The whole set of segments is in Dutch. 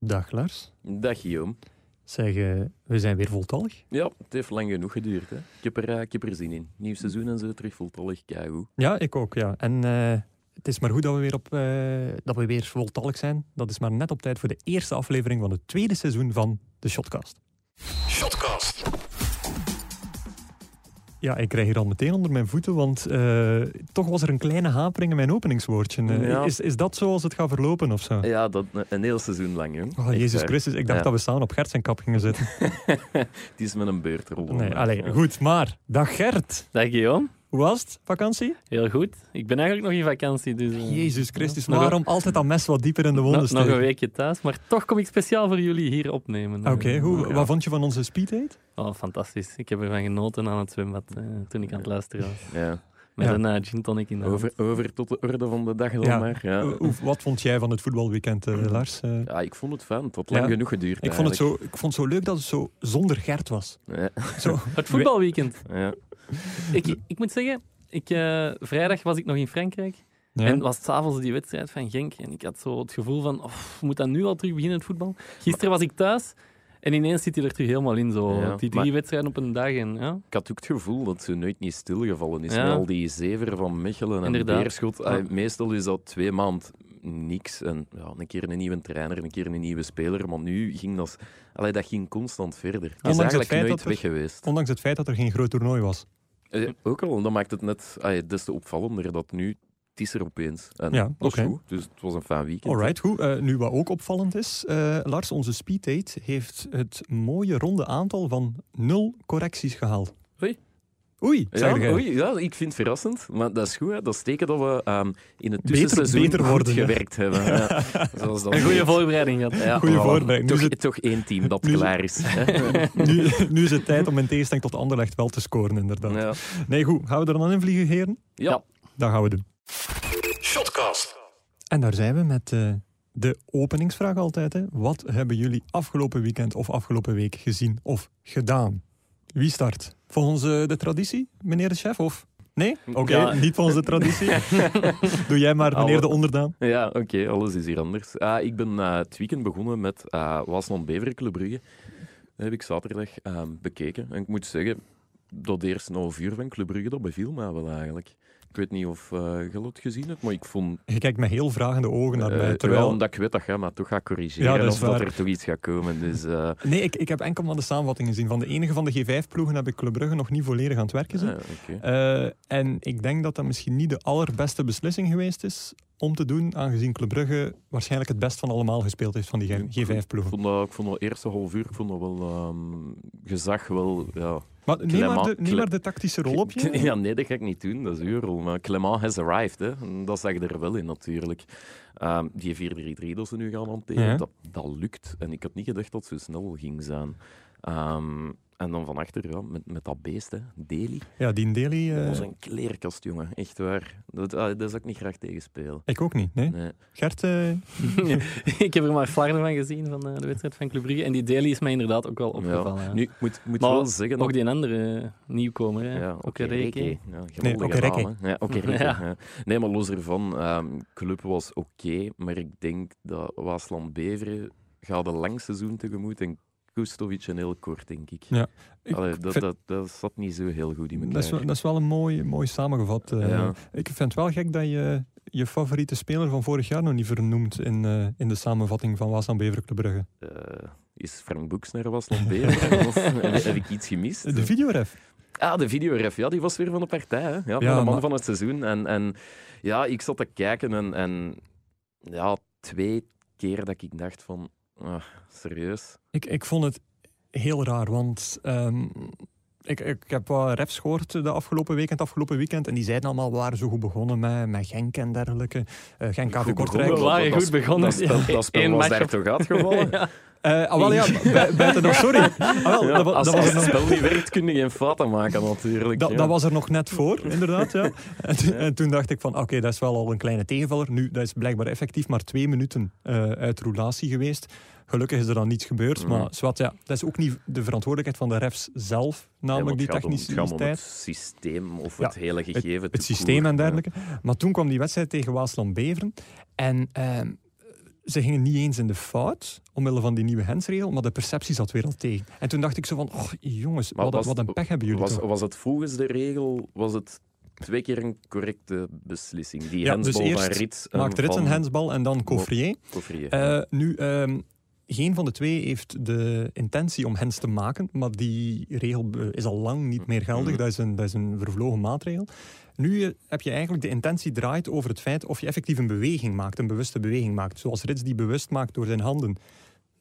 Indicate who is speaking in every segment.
Speaker 1: Dag Lars.
Speaker 2: Dag Guillaume.
Speaker 1: Zeg, eh, we zijn weer voltallig.
Speaker 2: Ja, het heeft lang genoeg geduurd. Hè. Ik, heb er, eh, ik heb er zin in. Nieuw seizoen en zo, terug voltallig keigoed.
Speaker 1: Ja, ik ook, ja. En eh, het is maar goed dat we, weer op, eh, dat we weer voltallig zijn. Dat is maar net op tijd voor de eerste aflevering van het tweede seizoen van de Shotcast.
Speaker 3: Shotcast.
Speaker 1: Ja, ik krijg hier al meteen onder mijn voeten, want eh, toch was er een kleine hapering in mijn openingswoordje. Eh,
Speaker 2: Ja.
Speaker 1: is, is dat zoals het gaat verlopen of zo?
Speaker 2: Ja, dat, een heel seizoen lang, jong.
Speaker 1: Oh,
Speaker 2: Echt
Speaker 1: Jezus
Speaker 2: waar.
Speaker 1: Christus, ik dacht
Speaker 2: Ja.
Speaker 1: dat we samen op Gert zijn kap gingen zitten.
Speaker 2: Het is met een beurt rollen.
Speaker 1: Nee,
Speaker 2: maar,
Speaker 1: allee,
Speaker 2: Oh, ja.
Speaker 1: goed, maar. Dag Gert.
Speaker 4: Dag Guillaume.
Speaker 1: Hoe was het? Vakantie?
Speaker 4: Heel goed. Ik ben eigenlijk nog in vakantie, dus... eh,
Speaker 1: Jezus Christus,
Speaker 4: nog-
Speaker 1: waarom altijd dat mes wat dieper in de wonden
Speaker 4: nog, nog
Speaker 1: steken?
Speaker 4: een weekje thuis, maar toch kom ik speciaal voor jullie hier opnemen. Eh,
Speaker 1: Oké, hoe-
Speaker 2: Ja.
Speaker 1: wat vond je van onze speeddate?
Speaker 4: Oh, fantastisch. Ik heb ervan genoten aan het zwembad eh, toen ik aan het luisteren was.
Speaker 2: Ja.
Speaker 4: Met
Speaker 1: Ja.
Speaker 4: een eh, gin tonic in de hand.
Speaker 2: Over, over tot de orde van de dag dan
Speaker 1: Ja.
Speaker 2: maar. Ja. Mm.
Speaker 1: Eh, hoe- wat vond jij van het voetbalweekend, eh, Lars? Eh,
Speaker 2: ja, ik vond het fijn. Het had lang
Speaker 1: Ja.
Speaker 2: genoeg geduurd.
Speaker 1: ik, vond het zo, ik vond het zo leuk dat het zo zonder Gert was.
Speaker 2: eigenlijk.
Speaker 1: Zo,
Speaker 4: Het voetbalweekend.
Speaker 2: Ja, ja.
Speaker 4: Ik, ik moet zeggen, ik, eh, vrijdag was ik nog in Frankrijk. En was s'avonds die wedstrijd van Genk. En ik had zo het gevoel van, oh, moet dat nu al terug beginnen, het voetbal? Gisteren was ik thuis en ineens zit hij er terug helemaal in. Zo.
Speaker 2: Ja,
Speaker 4: die drie
Speaker 2: maar-
Speaker 4: wedstrijden op een dag. En, ja.
Speaker 2: Ik had ook het gevoel dat ze nooit niet stilgevallen is.
Speaker 4: Ja.
Speaker 2: Met al die zever van Mechelen en
Speaker 4: Inderdaad.
Speaker 2: Beerschot. Ah, meestal is dat twee maand niks. En ja, een keer een nieuwe trainer, een keer een nieuwe speler. Maar nu ging dat, allee, dat ging constant verder. Het
Speaker 1: Ondanks
Speaker 2: is
Speaker 1: het
Speaker 2: eigenlijk
Speaker 1: feit
Speaker 2: nooit
Speaker 1: dat er-
Speaker 2: weg geweest.
Speaker 1: Ondanks het feit dat er geen groot toernooi was.
Speaker 2: Eh, ook al, dat maakt het net allee, des te opvallender dat nu... Het is er opeens. En
Speaker 1: Ja,
Speaker 2: dat is
Speaker 1: oké.
Speaker 2: goed. Dus het was een fijn weekend.
Speaker 1: Alright, goed. Eh, nu wat ook opvallend is, eh, Lars, onze speeddate heeft het mooie ronde aantal van nul correcties gehaald.
Speaker 4: Oei.
Speaker 1: Oei,
Speaker 2: Ja,
Speaker 1: zeg jij.
Speaker 2: oei, ja, ik vind het verrassend, maar dat is goed. Hè. Dat is teken dat we ehm, in het
Speaker 1: Beter-
Speaker 2: tussenseizoen
Speaker 1: beter worden,
Speaker 2: goed
Speaker 1: hè.
Speaker 2: gewerkt hebben. Ja. Zoals dat
Speaker 4: Een goede
Speaker 2: heet.
Speaker 4: voorbereiding gehad.
Speaker 2: Ja,
Speaker 1: Goeie
Speaker 2: voilà.
Speaker 1: voorbereiding. Nu
Speaker 2: Toch,
Speaker 1: is het-
Speaker 2: toch één team dat
Speaker 1: nu is het-
Speaker 2: klaar is. hè.
Speaker 1: Nu, nu is het tijd om in tegenstelling tot Anderlecht wel te scoren, inderdaad.
Speaker 2: Ja.
Speaker 1: Nee, goed. Gaan we er dan in vliegen, heren?
Speaker 2: Ja.
Speaker 1: Dat gaan we doen.
Speaker 3: Shotcast.
Speaker 1: En daar zijn we met eh, de openingsvraag altijd. Hè. Wat hebben jullie afgelopen weekend of afgelopen week gezien of gedaan? Wie start? Volgens eh, de traditie, meneer de chef? Of? Nee? Oké,
Speaker 4: Ja.
Speaker 1: niet volgens de traditie. Doe jij maar, meneer
Speaker 2: Alle-
Speaker 1: de onderdaan.
Speaker 2: Ja, oké, alles is hier anders. Ah, ik ben eh, het weekend begonnen met eh Wasland Beveren Brugge. Dat heb ik zaterdag eh, bekeken. En ik moet zeggen, dat eerste half uur van Club Brugge, dat beviel mij wel eigenlijk. Ik weet niet of eh je dat gezien hebt, maar ik vond...
Speaker 1: Je kijkt met heel vragende ogen naar mij.
Speaker 2: eh, Terwijl,
Speaker 1: Terwijl...
Speaker 2: omdat ik weet dat jij maar toch gaat corrigeren
Speaker 1: Ja, dat is
Speaker 2: of dat
Speaker 1: waar.
Speaker 2: er toch iets gaat komen. Dus, eh,
Speaker 1: Nee, ik, ik heb enkel maar de samenvatting gezien. Van de enige van de G5-ploegen heb ik Club Brugge nog niet volledig aan het werk gezien.
Speaker 2: ah, oké.
Speaker 1: Eh, en ik denk dat dat misschien niet de allerbeste beslissing geweest is om te doen, aangezien Club Brugge waarschijnlijk het best van allemaal gespeeld heeft van die
Speaker 2: Ik
Speaker 1: G5-ploegen.
Speaker 2: vond dat, ik vond dat eerste half uur, ik vond dat wel ehm, gezag, wel... Ja.
Speaker 1: Maar neem
Speaker 2: Clement-
Speaker 1: maar, de, neem
Speaker 2: Cle-
Speaker 1: maar de tactische rol op je.
Speaker 2: Ja, nee, dat ga ik niet doen. Dat is uw rol. Maar Clement has arrived. Hè. Dat zag je er wel in, natuurlijk. Ehm, die 4-3-3 dat ze nu gaan hanteren,
Speaker 1: Ja.
Speaker 2: dat, dat lukt. En ik had niet gedacht dat het zo snel ging zijn. Ehm, en dan van achter, ja, met, met dat beest, hè, Deli.
Speaker 1: Ja, Dean Daly. eh,
Speaker 2: Dat was een kleerkast, jongen. Echt waar. Dat, ah, daar zou ik niet graag tegen spelen.
Speaker 1: ik ook niet. Nee.
Speaker 2: Nee.
Speaker 1: Gert, eh,
Speaker 4: ik heb er maar flarden van gezien van eh, de wedstrijd van Club Brugge. En die Daly is mij inderdaad ook wel opgevallen.
Speaker 2: Ja.
Speaker 4: ja.
Speaker 2: Nu, ik moet, ik moet
Speaker 4: Maar
Speaker 2: wel zeggen...
Speaker 4: Ook die andere eh, nieuwkomer, hè.
Speaker 2: Ja,
Speaker 4: ook
Speaker 2: oké,
Speaker 4: Reke.
Speaker 2: Reke. Ja,
Speaker 1: Nee,
Speaker 2: geweldige
Speaker 1: oké, Reke.
Speaker 2: naam, hè. Ja, oké, Reke,
Speaker 4: Ja.
Speaker 2: ja. Nee, maar los ervan, ehm, club was oké, maar ik denk dat Waasland-Beveren gaat een lang seizoen tegemoet en Kustovic een heel kort, denk ik.
Speaker 1: ik
Speaker 2: Allee, dat,
Speaker 1: vind-
Speaker 2: dat, dat zat niet zo heel goed in elkaar.
Speaker 1: dat, is wel, dat is wel een mooi, mooi samengevat. eh.
Speaker 2: Ja.
Speaker 1: Ik vind het wel gek dat je je favoriete speler van vorig jaar nog niet vernoemt in, eh, in de samenvatting van Waasland Beveren Club Brugge.
Speaker 2: Eh, is Frank Boeks naar Waasland-Beveren? of heb, heb ik iets gemist?
Speaker 1: De videoref.
Speaker 2: Ah, de videoref. Ja, die was weer van de partij. Hè? Ja, van de man
Speaker 1: maar-
Speaker 2: van het seizoen. En, en ja, ik zat te kijken en, en ja, twee keer dat ik dacht van... ah, serieus?
Speaker 1: Ik, ik vond het heel raar, want ehm, ik, ik heb wat refs gehoord de afgelopen week en het afgelopen weekend. En die zeiden allemaal, we waren zo goed begonnen met, met Genk en dergelijke. Eh, Genk KV
Speaker 2: Goed
Speaker 1: Kortrijk.
Speaker 2: begonnen.
Speaker 4: We waren
Speaker 2: Dat-
Speaker 4: goed begonnen.
Speaker 2: Dat spel, dat spel
Speaker 4: Eén
Speaker 2: was
Speaker 4: match
Speaker 2: daar
Speaker 4: op-
Speaker 2: toch uitgevallen? ja,
Speaker 1: Eh, ah, wel ja, bu- buiten nog, sorry. Ah, wel, dat, wa-
Speaker 2: als
Speaker 1: dat was er
Speaker 2: als het
Speaker 1: nog,
Speaker 2: spel niet werkt, kun je geen fouten maken natuurlijk.
Speaker 1: dat,
Speaker 2: ja.
Speaker 1: dat was er nog net voor, inderdaad. Ja. En, toen- en toen dacht ik van, oké, dat is wel al een kleine tegenvaller. Nu, dat is blijkbaar effectief maar twee minuten eh, uit roulatie geweest. Gelukkig is er dan niets gebeurd,
Speaker 2: Mm.
Speaker 1: maar zwart, ja, dat is ook niet de verantwoordelijkheid van de refs zelf,
Speaker 2: Ja, want
Speaker 1: namelijk die
Speaker 2: het gaat om-
Speaker 1: technische
Speaker 2: Het gaat om
Speaker 1: tijd.
Speaker 2: het systeem of
Speaker 1: Ja,
Speaker 2: het hele gegeven. tout
Speaker 1: het systeem
Speaker 2: court,
Speaker 1: en
Speaker 2: ja.
Speaker 1: dergelijke. Maar toen kwam die wedstrijd tegen Waasland-Beveren. En ehm, ze gingen niet eens in de fout, omwille van die nieuwe hensregel, maar de perceptie zat weer al tegen. En toen dacht ik zo van, oh jongens,
Speaker 2: Maar
Speaker 1: wat,
Speaker 2: was-
Speaker 1: wat een pech hebben jullie
Speaker 2: Was,
Speaker 1: toch.
Speaker 2: was het volgens de regel, was het twee keer een correcte beslissing? Die
Speaker 1: Ja, dus
Speaker 2: hensbal van
Speaker 1: eerst
Speaker 2: Rits. en
Speaker 1: Maakt Rits
Speaker 2: van
Speaker 1: een hensbal en dan Coffrier.
Speaker 2: Coffrier.
Speaker 1: Eh, nu, ehm, geen van de twee heeft de intentie om hens te maken, maar die regel eh, is al lang niet meer geldig.
Speaker 2: Mm-hmm.
Speaker 1: Dat is een, dat is een vervlogen maatregel. Nu eh, heb je eigenlijk de intentie draait over het feit of je effectief een beweging maakt, een bewuste beweging maakt. Zoals Rits die bewust maakt door zijn handen.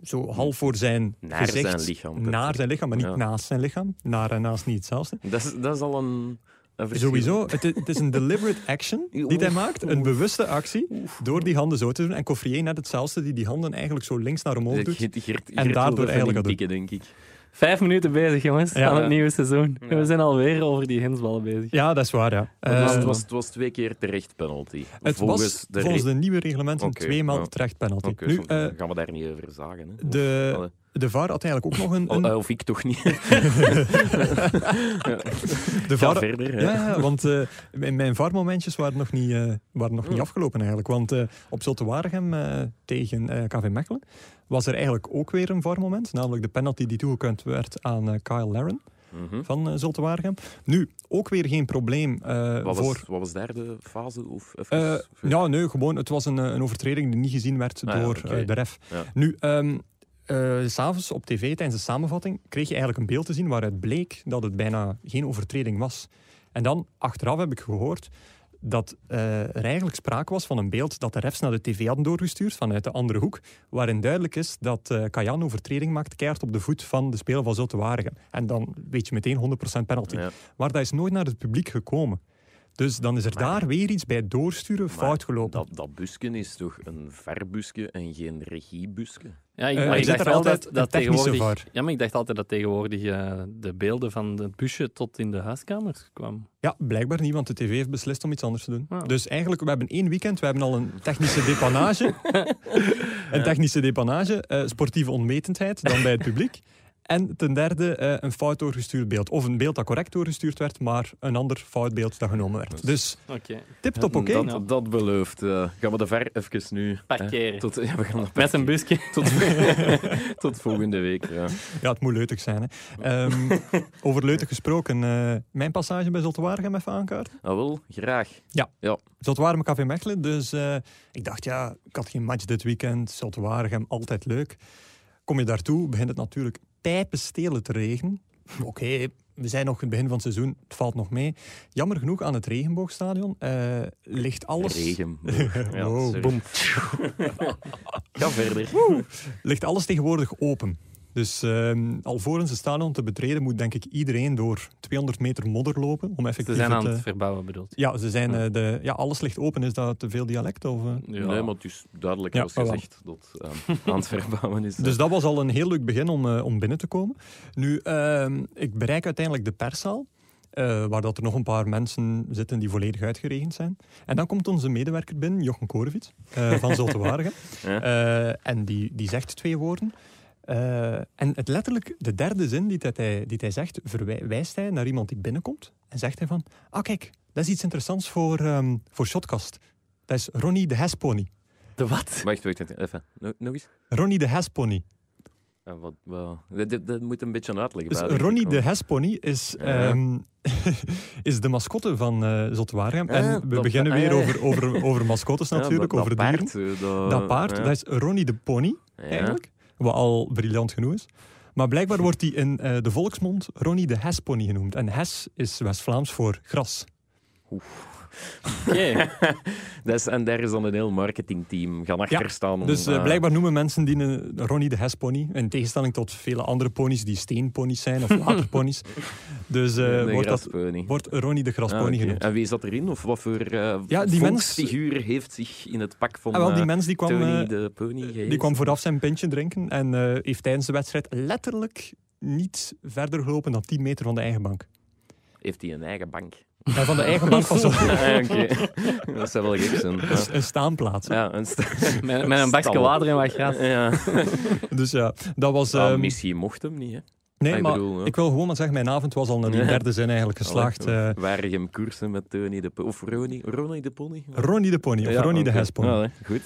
Speaker 1: Zo half voor zijn
Speaker 2: Mm. Naar
Speaker 1: gezicht.
Speaker 2: zijn lichaam.
Speaker 1: Naar zijn lichaam, maar niet
Speaker 2: Ja.
Speaker 1: naast zijn lichaam. Naar en naast niet hetzelfde.
Speaker 2: Dat is, dat is al een, een verschil.
Speaker 1: Sowieso, het, i- het is een deliberate action die hij maakt. Een bewuste actie door die handen zo te doen. En Coffrier net hetzelfde, die die handen eigenlijk zo links naar omhoog
Speaker 2: Gert,
Speaker 1: doet.
Speaker 2: Gert, Gert
Speaker 1: En
Speaker 2: wil
Speaker 1: daardoor
Speaker 2: dat van
Speaker 1: eigenlijk Eh,
Speaker 2: die pikken, denk ik.
Speaker 4: Vijf minuten bezig, jongens,
Speaker 1: Ja.
Speaker 4: aan het nieuwe seizoen. En
Speaker 2: Ja.
Speaker 4: we zijn alweer over die hensballen bezig.
Speaker 1: Ja, dat is waar, ja.
Speaker 2: Het was,
Speaker 1: Eh,
Speaker 2: het, was, het was twee keer terecht penalty.
Speaker 1: het
Speaker 2: volgens
Speaker 1: was
Speaker 2: de
Speaker 1: volgens
Speaker 2: re-
Speaker 1: de nieuwe reglementen
Speaker 2: Oké,
Speaker 1: tweemaal
Speaker 2: ja.
Speaker 1: terecht penalty.
Speaker 2: Oké,
Speaker 1: nu,
Speaker 2: soms
Speaker 1: eh,
Speaker 2: gaan we daar niet over zagen. Hè.
Speaker 1: de,
Speaker 2: Allee.
Speaker 1: de VAR had eigenlijk ook nog een...
Speaker 2: Al-
Speaker 1: een-
Speaker 2: eh, of ik toch niet.
Speaker 1: de
Speaker 2: Ga
Speaker 1: VAR,
Speaker 2: verder. hè.
Speaker 1: Ja, ja, want eh, mijn, mijn VAR-momentjes waren nog niet, eh, waren nog
Speaker 2: Hmm.
Speaker 1: niet afgelopen eigenlijk. Want eh, op Zulte Waregem eh, tegen eh KV Mechelen was er eigenlijk ook weer een VAR-moment. Namelijk de penalty die toegekend werd aan eh, Kyle Laren
Speaker 2: Mhm.
Speaker 1: van eh Zulte Waregem. Nu, ook weer geen probleem eh,
Speaker 2: Wat was,
Speaker 1: voor...
Speaker 2: wat was daar de fase? Of even
Speaker 1: Eh,
Speaker 2: ver-
Speaker 1: ja, nee, gewoon, het was een, eh, een overtreding die niet gezien werd
Speaker 2: Ah ja,
Speaker 1: door
Speaker 2: oké.
Speaker 1: eh, de ref.
Speaker 2: Ja.
Speaker 1: Nu, ehm eh, 's avonds op tv tijdens de samenvatting kreeg je eigenlijk een beeld te zien waaruit bleek dat het bijna geen overtreding was. En dan, achteraf heb ik gehoord dat eh, er eigenlijk sprake was van een beeld dat de refs naar de tv hadden doorgestuurd vanuit de andere hoek, waarin duidelijk is dat eh Kajan overtreding maakt, keihard op de voet van de speler van Zulte Waregem. En dan weet je meteen 100% penalty.
Speaker 2: Ja.
Speaker 1: Maar dat is nooit naar het publiek gekomen. Dus dan is er daar weer iets bij het doorsturen fout gelopen.
Speaker 2: Dat, dat busken is toch een verbuske en geen regiebuske?
Speaker 4: Ja, ik,
Speaker 1: Eh,
Speaker 4: maar
Speaker 1: er
Speaker 4: ik
Speaker 1: zit
Speaker 4: dacht
Speaker 1: er altijd
Speaker 4: altijd
Speaker 1: een
Speaker 4: dat
Speaker 1: technische
Speaker 4: tegenwoordig... Ja, maar ik dacht altijd dat tegenwoordig eh, de beelden van het busje tot in de huiskamers kwam.
Speaker 1: Ja, blijkbaar niet, want de tv heeft beslist om iets anders te doen.
Speaker 4: Ah.
Speaker 1: Dus eigenlijk, we hebben één weekend, we hebben al een technische depanage. een technische depanage, eh, sportieve onwetendheid, dan bij het publiek. En ten derde, eh, een fout doorgestuurd beeld. Of een beeld dat correct doorgestuurd werd, maar een ander fout beeld dat genomen werd. Dus
Speaker 4: Oké.
Speaker 1: tip top oké.
Speaker 2: Dat, dat belooft. eh, gaan we de ver even nu... hè,
Speaker 4: Parkeren.
Speaker 2: tot, ja, we gaan dat
Speaker 4: Met een
Speaker 2: parkeren.
Speaker 4: busje.
Speaker 2: Tot, tot volgende week. Ja.
Speaker 1: Ja, het moet leutig zijn. Hè. Ehm, over leutig gesproken, eh, mijn passage bij Zulte Waregem even aankaarten.
Speaker 2: Ah, wel, graag.
Speaker 1: Zotwaarm Café Mechelen. Dus eh, ik dacht, ja, ik had geen match dit weekend. Zotwaarm, altijd leuk. Kom je daartoe, begint het natuurlijk pijpenstelen te regenen. Oké, we zijn nog in het begin van het seizoen, het valt nog mee. Jammer genoeg, aan het Regenboogstadion eh, ligt alles...
Speaker 2: Regen. Ja,
Speaker 1: Wow,
Speaker 2: sorry.
Speaker 1: boom.
Speaker 2: Ga verder.
Speaker 1: ligt alles tegenwoordig open. Dus ehm alvorens het stadion te betreden moet denk ik iedereen door 200 meter modder lopen om
Speaker 4: Ze
Speaker 1: effectief
Speaker 4: zijn aan
Speaker 1: het,
Speaker 4: het
Speaker 1: eh,
Speaker 4: verbouwen, bedoelt je?
Speaker 1: ja, ze zijn, eh, de, ja, alles ligt open. Is dat te veel dialect? Of, eh?
Speaker 2: Nee, maar het is duidelijk
Speaker 1: Ja,
Speaker 2: als
Speaker 1: voilà.
Speaker 2: gezegd dat ehm, aan het verbouwen is. eh,
Speaker 1: Dus dat was al een heel leuk begin om, eh, om binnen te komen. Nu, ehm, ik bereik uiteindelijk de perszaal. eh, waar dat er nog een paar mensen zitten die volledig uitgeregend zijn. En dan komt onze medewerker binnen, Jochen Korevits, eh, van Zulte Waregem.
Speaker 2: Ja.
Speaker 1: Eh, en die, die zegt twee woorden. Eh, en het letterlijk, de derde zin die, dat hij, die hij zegt, verwijst hij naar iemand die binnenkomt. En zegt hij van, ah kijk, dat is iets interessants voor, ehm, voor Shotcast. Dat is Ronnie de Hespony.
Speaker 4: De wat?
Speaker 2: Wacht, wacht, wacht, even. Nog, nog eens?
Speaker 1: Ronnie de Hespony.
Speaker 2: Eh, wat, wat- Dat, dat- dat moet een beetje uitleggen.
Speaker 1: Dus
Speaker 2: daar, denk ik
Speaker 1: Ronnie
Speaker 2: wel.
Speaker 1: de Hespony is,
Speaker 2: Ja.
Speaker 1: ehm, is de mascotte van eh Zotwaargem.
Speaker 2: Ah,
Speaker 1: en we
Speaker 2: dat-
Speaker 1: beginnen
Speaker 2: ah,
Speaker 1: weer
Speaker 2: ja.
Speaker 1: over, over, over mascottes
Speaker 2: Ja,
Speaker 1: natuurlijk,
Speaker 2: dat,
Speaker 1: over
Speaker 2: dat
Speaker 1: dieren.
Speaker 2: paard, eh, dat,
Speaker 1: dat paard,
Speaker 2: ja.
Speaker 1: dat is Ronnie de Pony
Speaker 2: Ja.
Speaker 1: eigenlijk. Wat al briljant genoeg is. Maar blijkbaar wordt hij in eh, de volksmond Ronnie de Hespony genoemd. En Hes is West-Vlaams voor gras.
Speaker 4: Oké.
Speaker 2: Dat is, en daar is dan een heel marketingteam gaan achter staan. om,
Speaker 1: Dus eh,
Speaker 2: eh,
Speaker 1: blijkbaar noemen mensen die een Ronnie de Hespony. In tegenstelling tot vele andere ponies die steenponies zijn of waterponies. Dus eh,
Speaker 2: de
Speaker 1: wordt, dat,
Speaker 2: graspony.
Speaker 1: wordt Ronnie de Graspony
Speaker 2: Ah, oké.
Speaker 1: genoemd.
Speaker 2: En wie zat erin? Of wat voor eh
Speaker 1: Ja, die
Speaker 2: volksfiguur heeft zich in het pak van
Speaker 1: Ah, wel, die
Speaker 2: eh,
Speaker 1: mens die kwam...
Speaker 2: Tony
Speaker 1: eh,
Speaker 2: de Pony gehezen?
Speaker 1: Die kwam vooraf zijn pintje drinken en eh, heeft tijdens de wedstrijd letterlijk niet verder gelopen dan 10 meter van de eigen bank.
Speaker 2: Heeft hij een eigen bank?
Speaker 1: En van de eigen bank was
Speaker 2: Ah,
Speaker 1: er
Speaker 2: Oké, dat zou wel gek zijn. Ja,
Speaker 1: een staanplaats.
Speaker 2: ja een sta-
Speaker 4: Met, met een bakje
Speaker 2: Stal.
Speaker 4: water en wat gras.
Speaker 2: ja.
Speaker 1: Dus ja, dat was...
Speaker 2: Ah,
Speaker 1: ehm,
Speaker 2: misschien mocht hem niet, hè?
Speaker 1: Nee,
Speaker 2: Ah, ik
Speaker 1: maar
Speaker 2: bedoel, ja.
Speaker 1: ik wil gewoon maar zeggen, mijn avond was al naar die
Speaker 2: Ja.
Speaker 1: derde zin eigenlijk geslaagd. eh
Speaker 2: Waren je hem koersen met Tony de Po- Of Ronnie, Ronnie de Pony?
Speaker 1: Ronnie de Pony, of
Speaker 2: Ja,
Speaker 1: Ronnie de
Speaker 2: oké. Nou,
Speaker 1: Hespony.
Speaker 2: Ja, hè,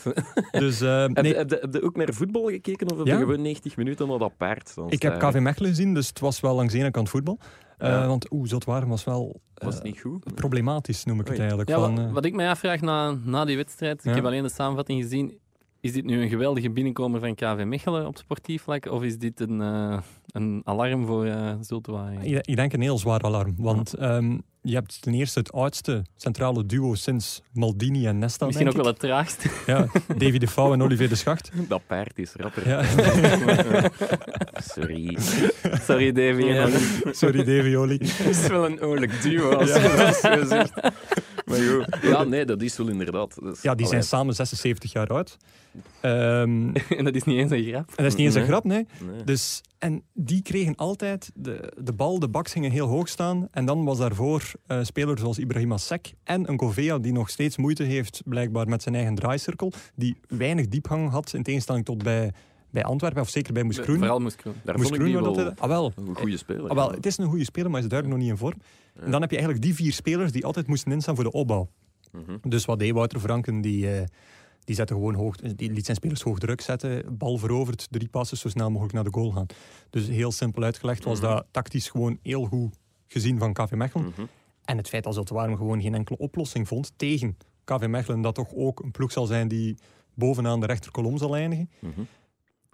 Speaker 2: goed.
Speaker 1: Dus eh,
Speaker 2: Heb,
Speaker 1: nee,
Speaker 2: je, heb, je, heb je ook naar voetbal gekeken of heb
Speaker 1: Ja.
Speaker 2: je gewoon 90 minuten naar dat eh, paard staan?
Speaker 1: ik heb
Speaker 2: staren?
Speaker 1: KV Mechelen gezien, dus het was wel langs de ene kant voetbal. Eh,
Speaker 2: Ja.
Speaker 1: Want oeh, Zotwaarm was wel eh,
Speaker 2: Was het niet goed?
Speaker 1: problematisch, noem ik het
Speaker 2: Oei.
Speaker 1: eigenlijk.
Speaker 4: Ja,
Speaker 1: van,
Speaker 4: wat,
Speaker 1: eh,
Speaker 4: wat ik mij afvraag na, na die wedstrijd,
Speaker 1: Ja.
Speaker 4: ik heb alleen de samenvatting gezien, is dit nu een geweldige binnenkomer van KV Mechelen op sportief vlak, of is dit een, eh, een alarm voor eh Zultuaren?
Speaker 1: ik, ik denk een heel zwaar alarm, want ehm, je hebt ten eerste het oudste centrale duo sinds Maldini en Nesta,
Speaker 4: Misschien ook
Speaker 1: denk
Speaker 4: wel
Speaker 1: ik.
Speaker 4: het traagste.
Speaker 1: Ja, Davy de Fouw en Olivier de Schacht.
Speaker 2: Dat paard is rapper.
Speaker 1: Eh, Ja.
Speaker 2: Sorry.
Speaker 4: Sorry, Davy.
Speaker 2: Ja.
Speaker 1: Sorry, Davy Oli.
Speaker 2: Het is wel een oorlijk duo, als je dat zo zegt. Maar goed. Ja, nee, dat is wel inderdaad. dat is-
Speaker 1: Ja,
Speaker 4: Oh,
Speaker 1: die zijn
Speaker 2: Allee,
Speaker 1: samen 76 jaar oud. Ehm,
Speaker 4: En dat is niet eens een grap.
Speaker 1: en dat is niet eens een
Speaker 2: Nee.
Speaker 1: grap, nee.
Speaker 2: nee.
Speaker 1: Dus, en die kregen altijd de, de bal, de baks gingen heel hoog staan. En dan was daarvoor eh speler zoals Ibrahima Sek en een Govea die nog steeds moeite heeft, blijkbaar met zijn eigen draaicirkel, die weinig diepgang had, in tegenstelling tot bij, bij Antwerpen, of zeker bij Moes Kroen.
Speaker 4: Vooral moest Kroen.
Speaker 2: Daar
Speaker 1: Moes
Speaker 2: vond ik
Speaker 1: Kroen
Speaker 2: die
Speaker 1: wordt
Speaker 2: wel
Speaker 1: altijd... Ah, wel.
Speaker 2: een goede speler.
Speaker 1: Ah, wel, het is een goede speler, maar is duidelijk nog niet in vorm.
Speaker 2: Ja.
Speaker 1: En dan heb je eigenlijk die vier spelers die altijd moesten instaan voor de opbouw.
Speaker 2: Mhm.
Speaker 1: Dus wat deed Wouter Franken? Die, eh, die, zette gewoon hoog, die liet zijn spelers hoog druk zetten. Bal veroverd, drie passes zo snel mogelijk naar de goal gaan. Dus heel simpel uitgelegd was
Speaker 2: Mhm.
Speaker 1: dat tactisch gewoon heel goed gezien van KV Mechelen.
Speaker 2: Mhm.
Speaker 1: En het feit dat Zultuarum gewoon geen enkele oplossing vond tegen KV Mechelen, dat toch ook een ploeg zal zijn die bovenaan de rechterkolom zal eindigen,
Speaker 2: Mhm.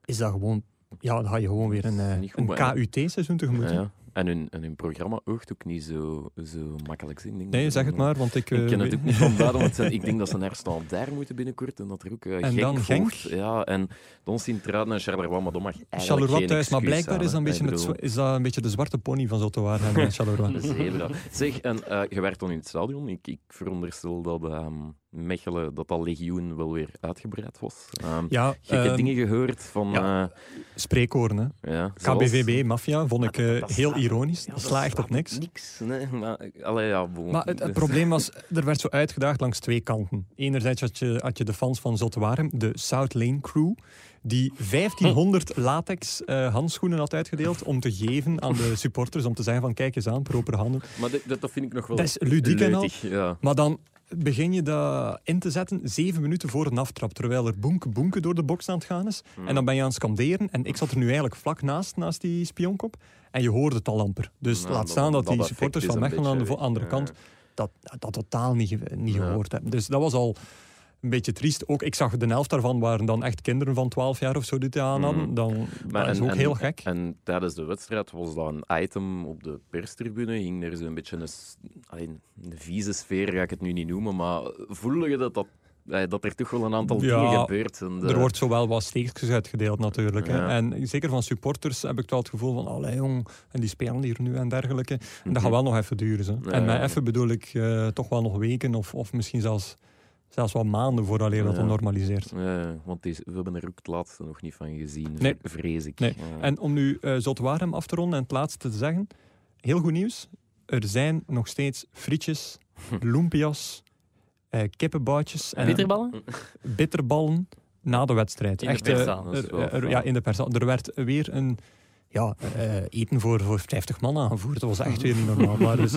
Speaker 1: is dat gewoon... Ja, dan ga je gewoon weer een, eh,
Speaker 2: Niet goed,
Speaker 1: een
Speaker 2: maar-
Speaker 1: KUT-seizoen tegemoet.
Speaker 2: Ja,
Speaker 1: hè.
Speaker 2: ja. En hun, en hun programma oogt ook niet zo, zo makkelijk. Ik denk
Speaker 1: Nee,
Speaker 2: dat-
Speaker 1: zeg het maar, want ik...
Speaker 2: Ik
Speaker 1: eh,
Speaker 2: ken het
Speaker 1: weet-
Speaker 2: ook niet van buiten, want zijn- ik denk dat ze naar Staal daar moeten binnenkort en dat er ook eh, Genk
Speaker 1: dan Genk?
Speaker 2: volgt. Ja, en dan Sint-Truiden en Charleroi, maar dat mag eigenlijk
Speaker 1: Charleroi
Speaker 2: geen
Speaker 1: thuis, maar
Speaker 2: excuus
Speaker 1: blijkbaar
Speaker 2: zijn,
Speaker 1: is dat, een
Speaker 2: hè.
Speaker 1: beetje
Speaker 2: Ik
Speaker 1: het
Speaker 2: bedoel,
Speaker 1: zwa- is dat een beetje de zwarte pony van Zotowaarden met Charleroi.
Speaker 2: Zebra. Zeg, en eh, je werd dan in het stadion. Ik, ik veronderstel dat ehm, Mechelen, dat dat legioen wel weer uitgebreid was. Ehm,
Speaker 1: Ja,
Speaker 2: Gekke
Speaker 1: ehm,
Speaker 2: dingen gehoord van...
Speaker 1: ja.
Speaker 2: Ja.
Speaker 1: spreekkoren. hè.
Speaker 2: ja,
Speaker 1: KBVB, maffia, vond ik
Speaker 2: Ah, dat-
Speaker 1: eh,
Speaker 2: dat
Speaker 1: heel
Speaker 2: slaat-
Speaker 1: ironisch. dat slaagt op
Speaker 2: op
Speaker 1: niks.
Speaker 2: Niks, nee. Maar, eh, allee, ja, bon.
Speaker 1: Maar het, het
Speaker 2: Dus-
Speaker 1: probleem was, er werd zo uitgedaagd langs twee kanten. Enerzijds had je, had je de fans van Zotwaarem, de South Lane Crew, die
Speaker 2: Hm.
Speaker 1: 1500 latex eh, handschoenen had uitgedeeld om te geven aan de supporters, om te zeggen van kijk eens aan, proper handen.
Speaker 2: Maar dit- dat, dat vind ik nog wel
Speaker 1: Dat is ludiek en al.
Speaker 2: leutig, ja.
Speaker 1: Maar dan begin je dat in te zetten zeven minuten voor een aftrap, terwijl er boenke boenke door de box aan het gaan is. En dan ben je aan het scanderen. En ik zat er nu eigenlijk vlak naast, naast die spionkop. En je hoorde het al amper. Dus
Speaker 2: Nou,
Speaker 1: laat
Speaker 2: dat-
Speaker 1: staan dat,
Speaker 2: dat
Speaker 1: die
Speaker 2: effect
Speaker 1: supporters
Speaker 2: is
Speaker 1: van
Speaker 2: een
Speaker 1: Mechelen aan de
Speaker 2: beetje
Speaker 1: vo- andere
Speaker 2: weg,
Speaker 1: kant
Speaker 2: ja.
Speaker 1: dat, dat totaal niet, ge- niet
Speaker 2: Ja.
Speaker 1: gehoord hebben. Dus dat was al een beetje triest. Ook, ik zag de helft daarvan waren dan echt kinderen van 12 jaar of zo die het aan hadden.
Speaker 2: Mhm.
Speaker 1: Dan,
Speaker 2: Maar
Speaker 1: dat is
Speaker 2: en-
Speaker 1: ook
Speaker 2: en-
Speaker 1: heel gek.
Speaker 2: En tijdens de wedstrijd was dat een item op de perstribune. Hing er zo'n beetje een, s- allee, een vieze sfeer, ga ik het nu niet noemen. Maar voelde je dat, dat, allee, dat er toch wel een aantal
Speaker 1: Ja,
Speaker 2: dingen gebeurt? En eh, de-
Speaker 1: Er wordt zowel wat steekjes uitgedeeld natuurlijk. Hè.
Speaker 2: Ja.
Speaker 1: En zeker van supporters heb ik wel het gevoel van, allee jong, en die spelen hier nu en dergelijke. En dat gaat wel nog even duren. Zo.
Speaker 2: Ja,
Speaker 1: en met
Speaker 2: Mhm. ja.
Speaker 1: even bedoel ik eh, toch wel nog weken of, of misschien zelfs, zelfs wel maanden vooraleer dat
Speaker 2: Ja.
Speaker 1: dat normaliseert.
Speaker 2: Ja, eh, want deze, we hebben er ook het laatste nog niet van gezien,
Speaker 1: Nee.
Speaker 2: vrees ik.
Speaker 1: Nee.
Speaker 2: Ja.
Speaker 1: En om nu eh Zotwaarem af te ronden en het laatste te zeggen, heel goed nieuws. Er zijn nog steeds frietjes,
Speaker 2: Hm.
Speaker 1: lumpia's, eh kippenboutjes en
Speaker 4: Bitterballen?
Speaker 1: bitterballen na de wedstrijd.
Speaker 4: In de
Speaker 1: eh,
Speaker 4: perszaal,
Speaker 2: dat is
Speaker 1: er-
Speaker 2: wel
Speaker 1: er-
Speaker 2: fijn.
Speaker 1: ja, in de perszaal. Er werd weer een ja, eh, eten voor, voor 50 man aangevoerd. Dat was echt weer niet normaal. Maar dus,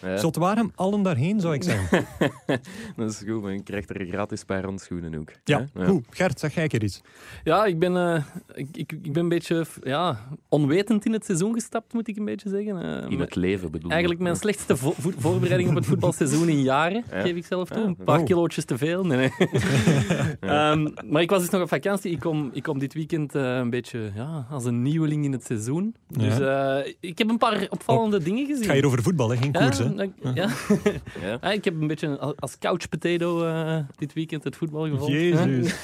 Speaker 2: Ja.
Speaker 1: zot waren allen daarheen, zou ik zeggen.
Speaker 2: Dat is goed, maar je krijgt er gratis een paar handschoenen ook.
Speaker 1: Ja,
Speaker 2: hè?
Speaker 1: goed. Gert, zeg jij een keer iets.
Speaker 4: Ja, ik ben, eh, ik, ik, ik ben een beetje f- ja, onwetend in het seizoen gestapt, moet ik een beetje zeggen. Eh,
Speaker 2: In het leven bedoel ik.
Speaker 4: Eigenlijk mijn slechtste vo- vo- voorbereiding op het voetbalseizoen in jaren,
Speaker 2: Ja.
Speaker 4: geef ik zelf toe.
Speaker 2: Ja.
Speaker 4: Een paar
Speaker 1: Oh.
Speaker 4: kilootjes te veel. Nee, nee. Ehm, maar ik was dus nog op vakantie. Ik kom, ik kom dit weekend eh, een beetje ja, als een nieuweling in het seizoen. Dus eh, ik heb een paar opvallende dingen gezien.
Speaker 1: Het gaat hier over voetbal, hè? geen
Speaker 4: Ja,
Speaker 1: koers. Hè?
Speaker 4: dank- ja.
Speaker 2: Ja.
Speaker 4: Ah, ik heb een beetje als- als couch potato eh, dit weekend het voetbal gevolgd.
Speaker 1: Jezus.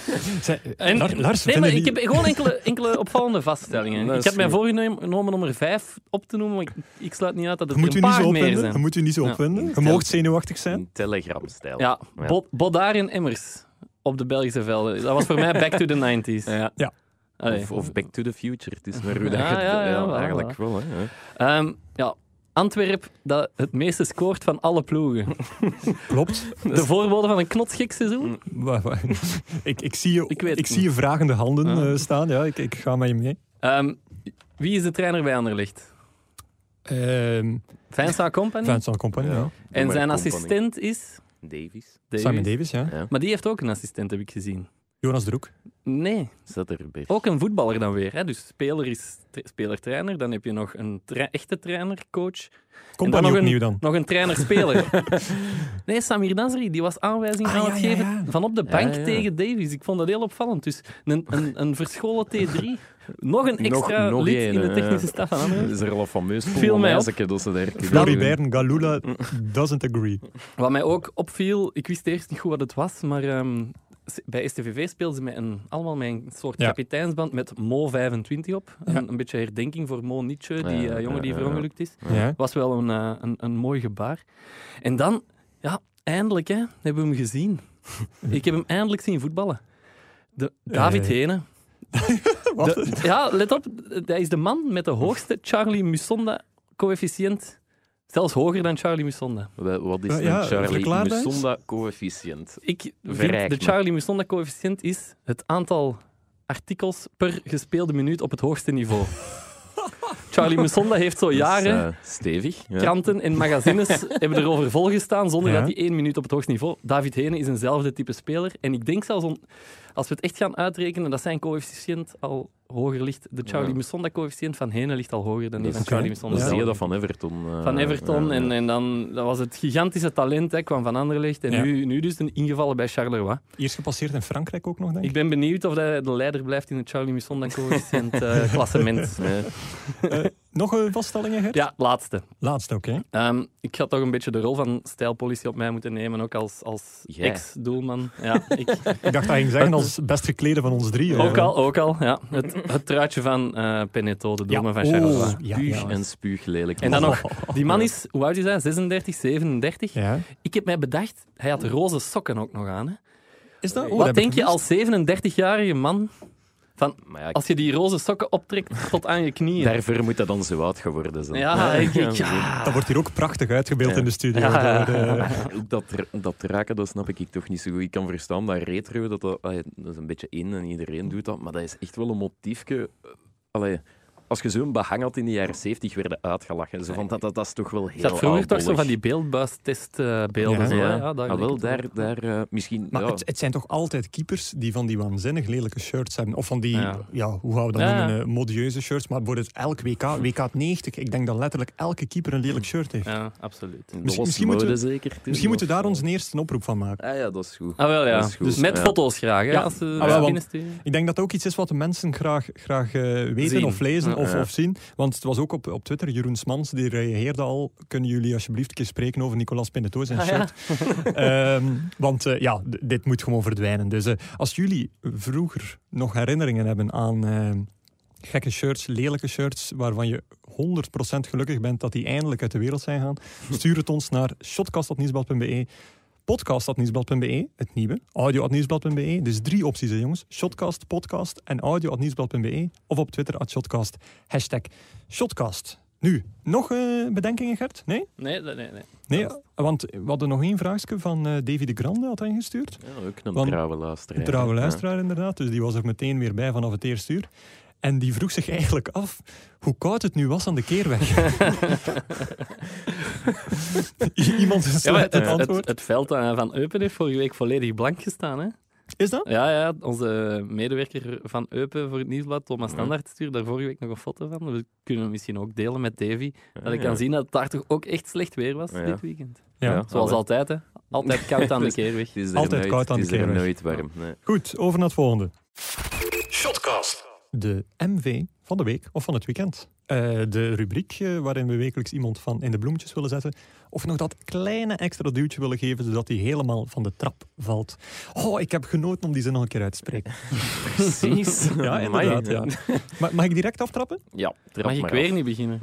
Speaker 1: Zij-
Speaker 4: En,
Speaker 1: Lar- Lars,
Speaker 4: nee,
Speaker 1: vinden
Speaker 4: maar
Speaker 1: die-
Speaker 4: ik heb gewoon enkele, enkele opvallende vaststellingen.
Speaker 2: Dat is
Speaker 4: ik had mij
Speaker 2: goed.
Speaker 4: voorgenomen om er vijf op te noemen, maar ik, ik sluit niet uit dat
Speaker 1: Je
Speaker 4: het
Speaker 1: moet
Speaker 4: er
Speaker 1: u
Speaker 4: een
Speaker 1: niet
Speaker 4: paar
Speaker 1: zo
Speaker 4: meer
Speaker 1: opwinden. Je
Speaker 4: zijn.
Speaker 1: moet u niet zo
Speaker 4: Ja.
Speaker 1: opwinden. Je
Speaker 2: Stel-
Speaker 1: moogt zenuwachtig zijn.
Speaker 2: In Telegram-stijl.
Speaker 4: Ja,
Speaker 2: Oh, Ja.
Speaker 4: Bo Bodaar en Emmers op de Belgische velden. Dat was voor mij back to the 90s.
Speaker 2: Ja.
Speaker 1: Ja.
Speaker 4: Allee.
Speaker 2: Of, of Back to the Future. Het is maar hoe dat
Speaker 4: Oh, Ja,
Speaker 2: je het-
Speaker 4: ja, ja,
Speaker 2: ja,
Speaker 4: voilà,
Speaker 2: eigenlijk wel. Hè.
Speaker 4: Ehm, ja. Antwerp dat het meeste scoort van alle ploegen.
Speaker 1: Klopt.
Speaker 4: De voorbode van een knotsgek seizoen.
Speaker 1: Wa- wa- ik, ik, zie je,
Speaker 4: Ik
Speaker 1: ik,
Speaker 4: weet het
Speaker 1: zie je vragende handen
Speaker 4: Ja.
Speaker 1: eh, staan. Ja, ik, ik ga met je mee.
Speaker 4: Ehm, Wie is de trainer bij Anderlicht?
Speaker 1: Ehm
Speaker 4: Vincent Company.
Speaker 1: Vincent Company,
Speaker 2: Ja.
Speaker 1: ja.
Speaker 4: en zijn
Speaker 2: Company.
Speaker 4: assistent is...
Speaker 2: Davies.
Speaker 4: Davies.
Speaker 1: Simon Davis, ja.
Speaker 2: Ja,
Speaker 4: Maar die heeft ook een assistent, heb ik gezien.
Speaker 1: Jonas Droek.
Speaker 4: Nee,
Speaker 2: zet erbij.
Speaker 4: ook een voetballer dan weer. Hè? Dus speler is tra- speler-trainer. Dan heb je nog een tra- echte trainer-coach. dan
Speaker 1: Company
Speaker 4: nog een-
Speaker 1: opnieuw dan.
Speaker 4: Nog een trainer-speler. nee, Samir Nasri, die was aanwijzing
Speaker 1: Ah,
Speaker 4: aan
Speaker 1: ja,
Speaker 4: het
Speaker 1: ja,
Speaker 4: geven
Speaker 1: ja.
Speaker 4: van op de bank
Speaker 2: ja.
Speaker 4: tegen Davies. Ik vond dat heel opvallend. Dus een, een, een verscholen T3. Nog een extra
Speaker 2: nog
Speaker 4: lid
Speaker 2: één, eh.
Speaker 4: in de
Speaker 2: hè,
Speaker 4: technische
Speaker 2: ja.
Speaker 4: staf van Anderlecht.
Speaker 2: Dat is er al fameus voor.
Speaker 4: Viel mij op.
Speaker 2: Meisje, dat ze daar
Speaker 1: Floribert Galula
Speaker 4: Mm.
Speaker 1: doesn't agree.
Speaker 4: Wat mij ook opviel, ik wist eerst niet goed wat het was, maar ehm, s- bij STVV speelden ze met een, allemaal met een soort
Speaker 1: Ja.
Speaker 4: kapiteinsband met Mo25 op.
Speaker 1: Ja.
Speaker 4: Een, een beetje herdenking voor Mo Nietzsche, die
Speaker 2: Ja,
Speaker 4: eh, jongen die
Speaker 2: ja, ja.
Speaker 4: verongelukt is.
Speaker 1: Ja.
Speaker 4: Was wel een, eh, een, een mooi gebaar. En dan, ja, eindelijk hè, hebben we hem gezien. ik heb hem eindelijk zien voetballen. De, David
Speaker 1: Eh.
Speaker 4: Henen.
Speaker 1: Wat?
Speaker 4: De- ja, let op. Hij is de man met de hoogste Charlie Musonda-coëfficiënt. Zelfs hoger dan Charlie Musonda.
Speaker 2: Wa- Wat is
Speaker 1: Ja,
Speaker 2: een
Speaker 1: ja, verklaar
Speaker 2: Charlie
Speaker 1: dat eens.
Speaker 2: Musonda-coëfficiënt?
Speaker 4: Ik vind
Speaker 2: Verrijk
Speaker 4: de
Speaker 2: me.
Speaker 4: Charlie Musonda coëfficiënt is het aantal artikels per gespeelde minuut op het hoogste niveau. Charlie Musonda heeft zo jaren
Speaker 2: Dat is, eh, stevig. Ja.
Speaker 4: kranten en magazines hebben erover volgestaan zonder
Speaker 1: Ja.
Speaker 4: dat hij één minuut op het hoogste niveau. David Henen is eenzelfde type speler. En ik denk zelfs, on- als we het echt gaan uitrekenen, dat zijn coëfficiënt al hoger ligt. De Charlie
Speaker 2: Ja.
Speaker 4: Musonda coëfficiënt van Henen ligt al hoger dan die
Speaker 2: Dat
Speaker 4: van
Speaker 2: is-
Speaker 4: Charlie
Speaker 1: oké.
Speaker 4: Musonda.
Speaker 2: Dan
Speaker 1: Ja.
Speaker 2: zie je dat van Everton. eh,
Speaker 4: Van Everton.
Speaker 2: ja,
Speaker 4: En,
Speaker 2: ja.
Speaker 4: en dan dat was het gigantische talent, hè, kwam van Anderlecht. En
Speaker 1: Ja.
Speaker 4: nu, nu dus een ingevallen bij Charleroi.
Speaker 1: Eerst gepasseerd in Frankrijk ook nog, denk
Speaker 4: Ik
Speaker 1: ik.
Speaker 4: ben benieuwd of hij de leider blijft in het Charlie Missonda coëfficiënt eh, klassement.
Speaker 2: Ja.
Speaker 1: Eh, Nog een vaststellingen, Gert?
Speaker 4: Ja, laatste.
Speaker 1: Laatste, oké.
Speaker 4: Ehm, ik ga toch een beetje de rol van stijlpolitie op mij moeten nemen, ook als, als
Speaker 2: Jij.
Speaker 4: ex-doelman. Ja, ik,
Speaker 1: Ik dacht dat je ging zeggen als best geklede van ons drie.
Speaker 4: ook al, ook al. Ja. Het, het truitje van eh Penetto, de doelman van Charleroi.
Speaker 1: oh, ja,
Speaker 2: Puug
Speaker 1: ja.
Speaker 2: en spuug lelijk.
Speaker 4: En dan nog, die man is, hoe oud is hij? 36, 37?
Speaker 1: Ja.
Speaker 4: Ik heb mij bedacht, hij had roze sokken ook nog aan. Hè? Eh,
Speaker 1: Is dat?
Speaker 4: Wat denk je als 37-jarige man,
Speaker 2: Maar ja,
Speaker 4: als je die roze sokken optrekt tot aan je knieën?
Speaker 2: daarvoor moet dat dan zo oud geworden zijn.
Speaker 4: Ja, ik, ik, ja.
Speaker 1: Dat wordt hier ook prachtig uitgebeeld in de studio.
Speaker 4: Ah.
Speaker 1: eh.
Speaker 4: Ja.
Speaker 1: De- de-
Speaker 2: Ook dat, ra- dat raken, dat snap ik toch niet zo goed. Ik kan verstaan dat retro, dat, dat, allee, dat is een beetje in en iedereen doet dat, maar dat is echt wel een motiefje. eh, Allee, als je zo'n behang had in de jaren 70 werden uitgelachen. Zo van, dat, dat, dat is toch wel heel
Speaker 4: Je had vroeger toch zo
Speaker 2: oudbollig.
Speaker 4: van die
Speaker 1: Ja.
Speaker 4: beeldbuis-testbeelden. beelden. zo, hè?
Speaker 2: Ja,
Speaker 4: ja, daar
Speaker 2: ah, wel,
Speaker 4: lijkt het
Speaker 2: daar,
Speaker 4: op.
Speaker 2: daar eh, misschien...
Speaker 1: Maar
Speaker 2: ja.
Speaker 1: het, het zijn toch altijd keepers die van die waanzinnig lelijke shirts hebben. Of van die, ja,
Speaker 4: Ja.
Speaker 1: hoe gaan we dat
Speaker 4: Ja,
Speaker 1: noemen,
Speaker 4: ja.
Speaker 1: eh, modieuze shirts. Maar bijvoorbeeld elk WK, WK 90, ik denk dat letterlijk elke keeper een lelijk shirt heeft.
Speaker 4: Ja, absoluut.
Speaker 2: Dat
Speaker 1: misschien-
Speaker 2: was
Speaker 1: misschien
Speaker 2: mode
Speaker 1: moeten we-
Speaker 2: zeker. toen,
Speaker 1: Misschien moeten we daar
Speaker 2: of-
Speaker 1: onze eerste oproep van maken.
Speaker 2: Ah ja, dat is goed.
Speaker 4: Ah, wel ja.
Speaker 2: Dat is goed.
Speaker 4: Dus met
Speaker 2: Ja.
Speaker 4: foto's graag, hè?
Speaker 1: Ja.
Speaker 4: Als ze
Speaker 1: Ah,
Speaker 4: ah,
Speaker 1: wel, want-
Speaker 4: binnensturen.
Speaker 1: Ik denk dat dat ook iets is wat de mensen graag, graag eh, weten
Speaker 4: Zien.
Speaker 1: of lezen
Speaker 4: Ja.
Speaker 1: of,
Speaker 2: Ja.
Speaker 1: of zien. Want het was ook op, op Twitter, Jeroen Smans, die reageerde al. Kunnen jullie alsjeblieft een keer spreken over Nicolas Pineto's
Speaker 4: Ah,
Speaker 1: zijn shirt? Ehm, want eh, ja, d- dit moet gewoon verdwijnen. Dus eh, als jullie vroeger nog herinneringen hebben aan eh, gekke shirts, lelijke shirts, waarvan je 100% gelukkig bent dat die eindelijk uit de wereld zijn gaan, stuur het ons naar shotcast.nieuwsblad.be podcast.nieuwsblad.be, het nieuwe, audio.nieuwsblad.be. Dus drie opties, hè, jongens. Shotcast, podcast en audio.nieuwsblad.be. Of op Twitter, at shotcast, hashtag shotcast. Nu, nog eh, bedenkingen, Gert? Nee?
Speaker 4: Nee, nee, nee. nee.
Speaker 1: Nee, want we hadden nog één vraagje van eh Davy de Grande had ingestuurd.
Speaker 2: Ja, ook een
Speaker 1: Want-
Speaker 2: trouwe luisteraar.
Speaker 1: Een trouwe
Speaker 2: Ja.
Speaker 1: luisteraar, inderdaad. Dus die was er meteen weer bij vanaf het eerste uur. En die vroeg zich eigenlijk af hoe koud het nu was aan de keerweg. I- Iemand
Speaker 4: Ja, maar
Speaker 1: sluit
Speaker 4: het,
Speaker 1: het
Speaker 4: het-
Speaker 1: antwoord.
Speaker 4: het veld eh, van Eupen heeft vorige week volledig blank gestaan. Hè?
Speaker 1: Is dat?
Speaker 4: Ja, ja, onze medewerker van Eupen voor het nieuwsblad, Thomas
Speaker 2: Ja.
Speaker 4: Standaard, stuurde daar vorige week nog een foto van. We kunnen hem misschien ook delen met Davy. Dat ik
Speaker 2: Ja.
Speaker 4: kan zien dat het daar toch ook echt slecht weer was
Speaker 2: Ja.
Speaker 4: dit weekend.
Speaker 1: Ja.
Speaker 2: Ja.
Speaker 4: Zoals altijd, hè? Altijd koud aan de keerweg.
Speaker 2: Het is er
Speaker 1: Altijd
Speaker 2: nooit,
Speaker 1: koud aan
Speaker 2: het
Speaker 1: de
Speaker 2: is er
Speaker 1: keerweg.
Speaker 2: nooit warm. Nee.
Speaker 1: Goed, over naar het volgende.
Speaker 3: Shotcast.
Speaker 1: de MV van de week of van het weekend. Eh, de rubriek eh, waarin we wekelijks iemand van in de bloemetjes willen zetten. Of nog dat kleine extra duwtje willen geven, zodat hij helemaal van de trap valt. Oh, ik heb genoten om die zin nog een keer uit te spreken.
Speaker 2: Precies.
Speaker 1: Ja, inderdaad. Ja. Ma- mag ik direct aftrappen?
Speaker 2: Ja, trap
Speaker 4: Mag ik
Speaker 2: maar
Speaker 4: weer
Speaker 2: af.
Speaker 4: niet beginnen?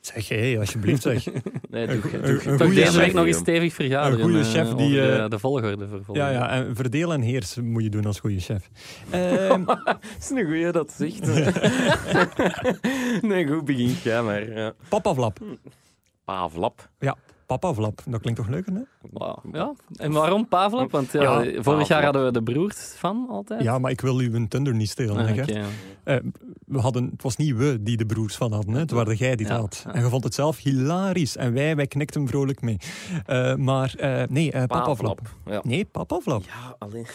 Speaker 1: Zeg, hé, alsjeblieft zeg.
Speaker 2: Nee, doe, doe,
Speaker 1: Een-
Speaker 2: doe-
Speaker 1: een
Speaker 2: doe-
Speaker 4: Toch
Speaker 1: goeie
Speaker 2: doe-
Speaker 4: deze
Speaker 1: chef.
Speaker 4: week nog eens
Speaker 2: Guillaume.
Speaker 4: stevig vergaderen.
Speaker 1: Een goede
Speaker 4: eh,
Speaker 1: chef
Speaker 4: over
Speaker 1: die,
Speaker 4: de,
Speaker 1: eh,
Speaker 4: de volgorde vervolgen.
Speaker 1: Ja, ja, en verdeel en heers moet je doen als goede chef. Ehm,
Speaker 2: Het is een goeie dat zegt. nee, goed, begin jij maar. Ja.
Speaker 1: Papavlap.
Speaker 2: Pavlap.
Speaker 1: Ja, Papa Vlap, dat klinkt toch leuker, hè?
Speaker 4: Wauw. Ja. En waarom Pavlov? Want ja,
Speaker 1: Ja,
Speaker 4: vorig
Speaker 2: Pavlov.
Speaker 4: jaar hadden we de broers van altijd.
Speaker 1: Ja, maar ik wil uw Thunder niet stelen,
Speaker 4: Ah,
Speaker 1: hè,
Speaker 4: oké.
Speaker 1: Gert. Eh, we hadden, het was niet we die de broers van hadden, hè. het waren jij die het
Speaker 4: Ja,
Speaker 1: had.
Speaker 4: ja.
Speaker 1: En je vond het zelf hilarisch en wij, wij knikten vrolijk mee. Eh, maar eh, nee, eh Papa Vlap.
Speaker 2: Paaflap. Ja.
Speaker 1: Nee, Papa Vlap.
Speaker 2: ja, alleen.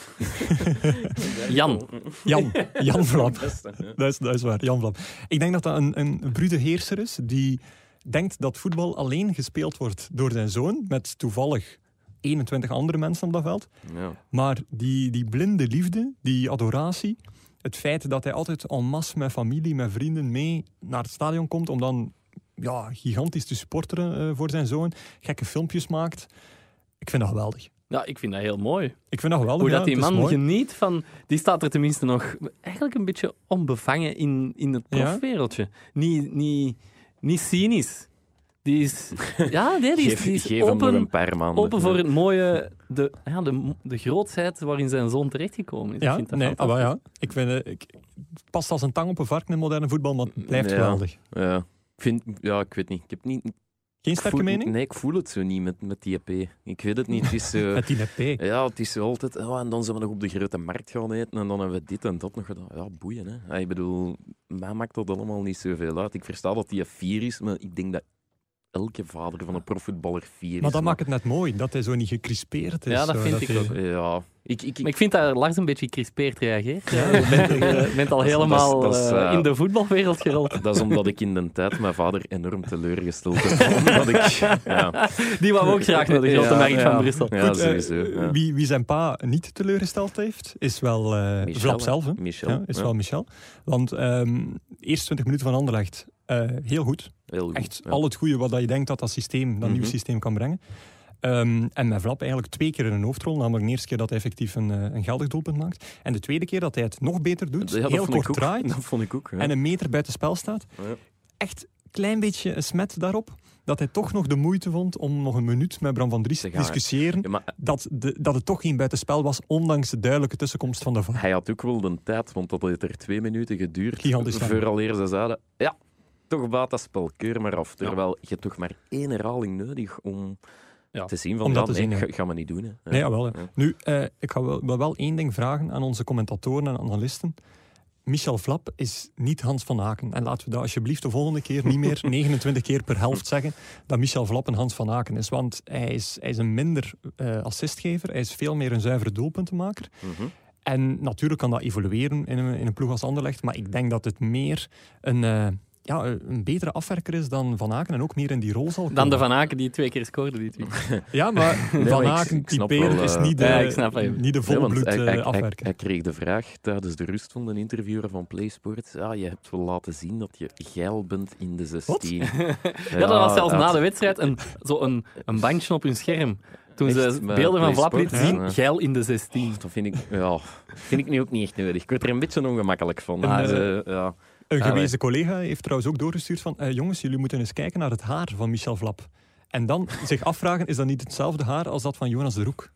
Speaker 4: Jan.
Speaker 1: Jan, Jan Vlap.
Speaker 2: Beste, hè.
Speaker 1: Dat is, dat is waar, Jan Vlap. Ik denk dat dat een, een brude heerser is die denkt dat voetbal alleen gespeeld wordt door zijn zoon met toevallig 21 andere mensen op dat veld.
Speaker 2: Ja.
Speaker 1: Maar die, die blinde liefde, die adoratie, het feit dat hij altijd en masse met familie, met vrienden mee naar het stadion komt om dan ja, gigantisch te supporteren eh, voor zijn zoon, gekke filmpjes maakt. Ik vind dat geweldig.
Speaker 4: Ja, ik vind dat heel mooi.
Speaker 1: Ik vind dat geweldig.
Speaker 4: Hoe
Speaker 1: ja,
Speaker 4: dat die
Speaker 1: het is
Speaker 4: man
Speaker 1: mooi.
Speaker 4: geniet van... Die staat er tenminste nog eigenlijk een beetje onbevangen in, in het
Speaker 1: Ja?
Speaker 4: profwereldje. Niet, niet, niet cynisch. Die is... Ja, nee, die is,
Speaker 2: Geef,
Speaker 4: die is
Speaker 2: geef hem nog een
Speaker 4: open,
Speaker 2: paar maanden.
Speaker 4: open voor het mooie... De, ja, de, de grootsheid waarin zijn zoon terechtgekomen is. ik
Speaker 1: Ja,
Speaker 4: vind dat
Speaker 1: nee, ah,
Speaker 4: fantastisch.
Speaker 1: wel, ja. Ik vind, eh, ik, het past als een tang op een varken in moderne voetbal, maar het blijft
Speaker 2: Ja.
Speaker 1: geweldig.
Speaker 2: Ja. Ik vind, ja, ik weet niet. Ik heb niet.
Speaker 1: Geen
Speaker 2: ik
Speaker 1: sterke
Speaker 2: voel-
Speaker 1: mening?
Speaker 2: Nee, ik voel het zo niet met, met die EP. Ik weet het niet. Het is, eh,
Speaker 1: Met die P.
Speaker 2: ja, het is zo altijd. Oh, en dan zijn we nog op de grote markt gaan eten. En dan hebben we dit en dat nog gedaan. Ja, boeien. Hè. Ja, ik bedoel, mij maakt dat allemaal niet zoveel uit. Ik versta dat die fier is, maar ik denk dat elke vader van een profvoetballer fier is.
Speaker 1: Maar dat maakt het net mooi, dat hij zo niet gecrispeerd is.
Speaker 4: Ja, dat
Speaker 1: zo,
Speaker 4: vind ik
Speaker 1: hij-
Speaker 4: ook.
Speaker 2: Ja, ik, ik, ik,
Speaker 4: Maar ik vind dat Lars een beetje crispeerd reageert.
Speaker 1: Ja,
Speaker 4: Je bent, je bent al
Speaker 2: dat is-
Speaker 4: helemaal
Speaker 2: dat is,
Speaker 4: eh,
Speaker 2: eh,
Speaker 4: in de voetbalwereld gerold.
Speaker 2: Dat is omdat ik in de tijd mijn vader enorm teleurgesteld heb. Omdat ik, ja,
Speaker 4: Die wou ook graag naar de grote
Speaker 2: Ja,
Speaker 4: markt
Speaker 2: ja.
Speaker 4: van Brussel.
Speaker 2: ja
Speaker 1: Goed, eh,
Speaker 2: sowieso. ja.
Speaker 1: Wie, wie zijn pa niet teleurgesteld heeft, is wel eh,
Speaker 2: Michel,
Speaker 1: Vlap
Speaker 2: hè.
Speaker 1: zelf. Hè?
Speaker 2: Michel.
Speaker 1: Ja, is
Speaker 2: ja,
Speaker 1: wel Michel. Want ehm eerst 20 minuten van Anderlecht, eh, heel goed.
Speaker 2: heel goed,
Speaker 1: Echt
Speaker 2: ja.
Speaker 1: al het goede wat dat je denkt dat dat systeem, dat nieuw
Speaker 2: Mhm.
Speaker 1: systeem kan brengen. Ehm, en met Vlap eigenlijk twee keer in een hoofdrol. Namelijk de eerste keer dat hij effectief een, eh, een geldig doelpunt maakt. En de tweede keer dat hij het nog beter doet.
Speaker 2: Ja, dat
Speaker 1: heel
Speaker 2: vond ik
Speaker 1: kort
Speaker 2: ook.
Speaker 1: draait
Speaker 2: Dat vond ik ook. ja.
Speaker 1: en een meter buiten spel staat.
Speaker 2: Ja.
Speaker 1: Echt klein beetje een smet daarop. Dat hij toch nog de moeite vond om nog een minuut met Bram van Dries te
Speaker 2: Te gaan.
Speaker 1: discussiëren.
Speaker 2: Ja, maar
Speaker 1: Dat, de, dat het toch geen buitenspel was, ondanks de duidelijke tussenkomst van de VAR.
Speaker 2: hij had ook wel de tijd, want dat heeft er twee minuten geduurd.
Speaker 1: Gigantisch lang.
Speaker 2: Vooraleer ze zeiden, ja, toch baat dat spel, keur maar af. Terwijl je hebt toch maar één herhaling nodig om
Speaker 4: Ja,
Speaker 2: te zien van,
Speaker 1: om dat
Speaker 2: ja,
Speaker 1: te zien,
Speaker 2: nee,
Speaker 1: ja.
Speaker 2: ga, ga maar niet doen. Hè. Ja.
Speaker 1: Nee, jawel. ja.
Speaker 2: Ja.
Speaker 1: Nu, eh, ik ga wel, wil wel één ding vragen aan onze commentatoren en analisten. Michel Flap is niet Hans van Aken. En laten we dat alsjeblieft de volgende keer niet meer 29 keer per helft zeggen dat Michel Flap een Hans van Aken is. Want hij is, hij is een minder eh, assistgever. Hij is veel meer een zuivere doelpuntenmaker.
Speaker 2: Mhm.
Speaker 1: En natuurlijk kan dat evolueren in een, in een ploeg als Anderlecht. Maar ik denk dat het meer een, eh, ja, een betere afwerker is dan Van Aken. En ook meer in die rol zal komen.
Speaker 4: Dan de Van Aken die twee keer scoorde dit week.
Speaker 1: Ja, maar
Speaker 2: maar
Speaker 1: Van
Speaker 2: ik-
Speaker 1: Aken
Speaker 2: ik snap
Speaker 1: typeren
Speaker 2: wel,
Speaker 1: is
Speaker 2: eh,
Speaker 1: niet de,
Speaker 4: Ja, ik snap hem.
Speaker 1: niet de
Speaker 2: Nee, want
Speaker 1: volbloed
Speaker 2: hij,
Speaker 1: eh,
Speaker 2: hij- hij-
Speaker 1: afwerker.
Speaker 2: hij kreeg de vraag tijdens de rust van een interviewer van PlaySports. Ja, je hebt wel laten zien dat je geil bent in de 16.
Speaker 4: Ja, dat was zelfs na de wedstrijd een, zo een, een bandje op hun scherm. Toen ze
Speaker 2: Echt, maar
Speaker 4: beelden
Speaker 2: Play
Speaker 4: van Vlap
Speaker 2: Sport,
Speaker 4: lieten zien,
Speaker 2: ja.
Speaker 4: geil in de 16.
Speaker 2: Dat vind ik, ja, vind ik nu ook niet echt nodig. Ik word er een beetje ongemakkelijk van.
Speaker 1: En,
Speaker 2: Maar,
Speaker 1: eh,
Speaker 2: eh, ja.
Speaker 1: Een
Speaker 2: Ah,
Speaker 1: gewezen collega heeft trouwens ook doorgestuurd van eh, jongens, jullie moeten eens kijken naar het haar van Michel Vlap. En dan zich afvragen, is dat niet hetzelfde haar als dat van Jonas de Roek?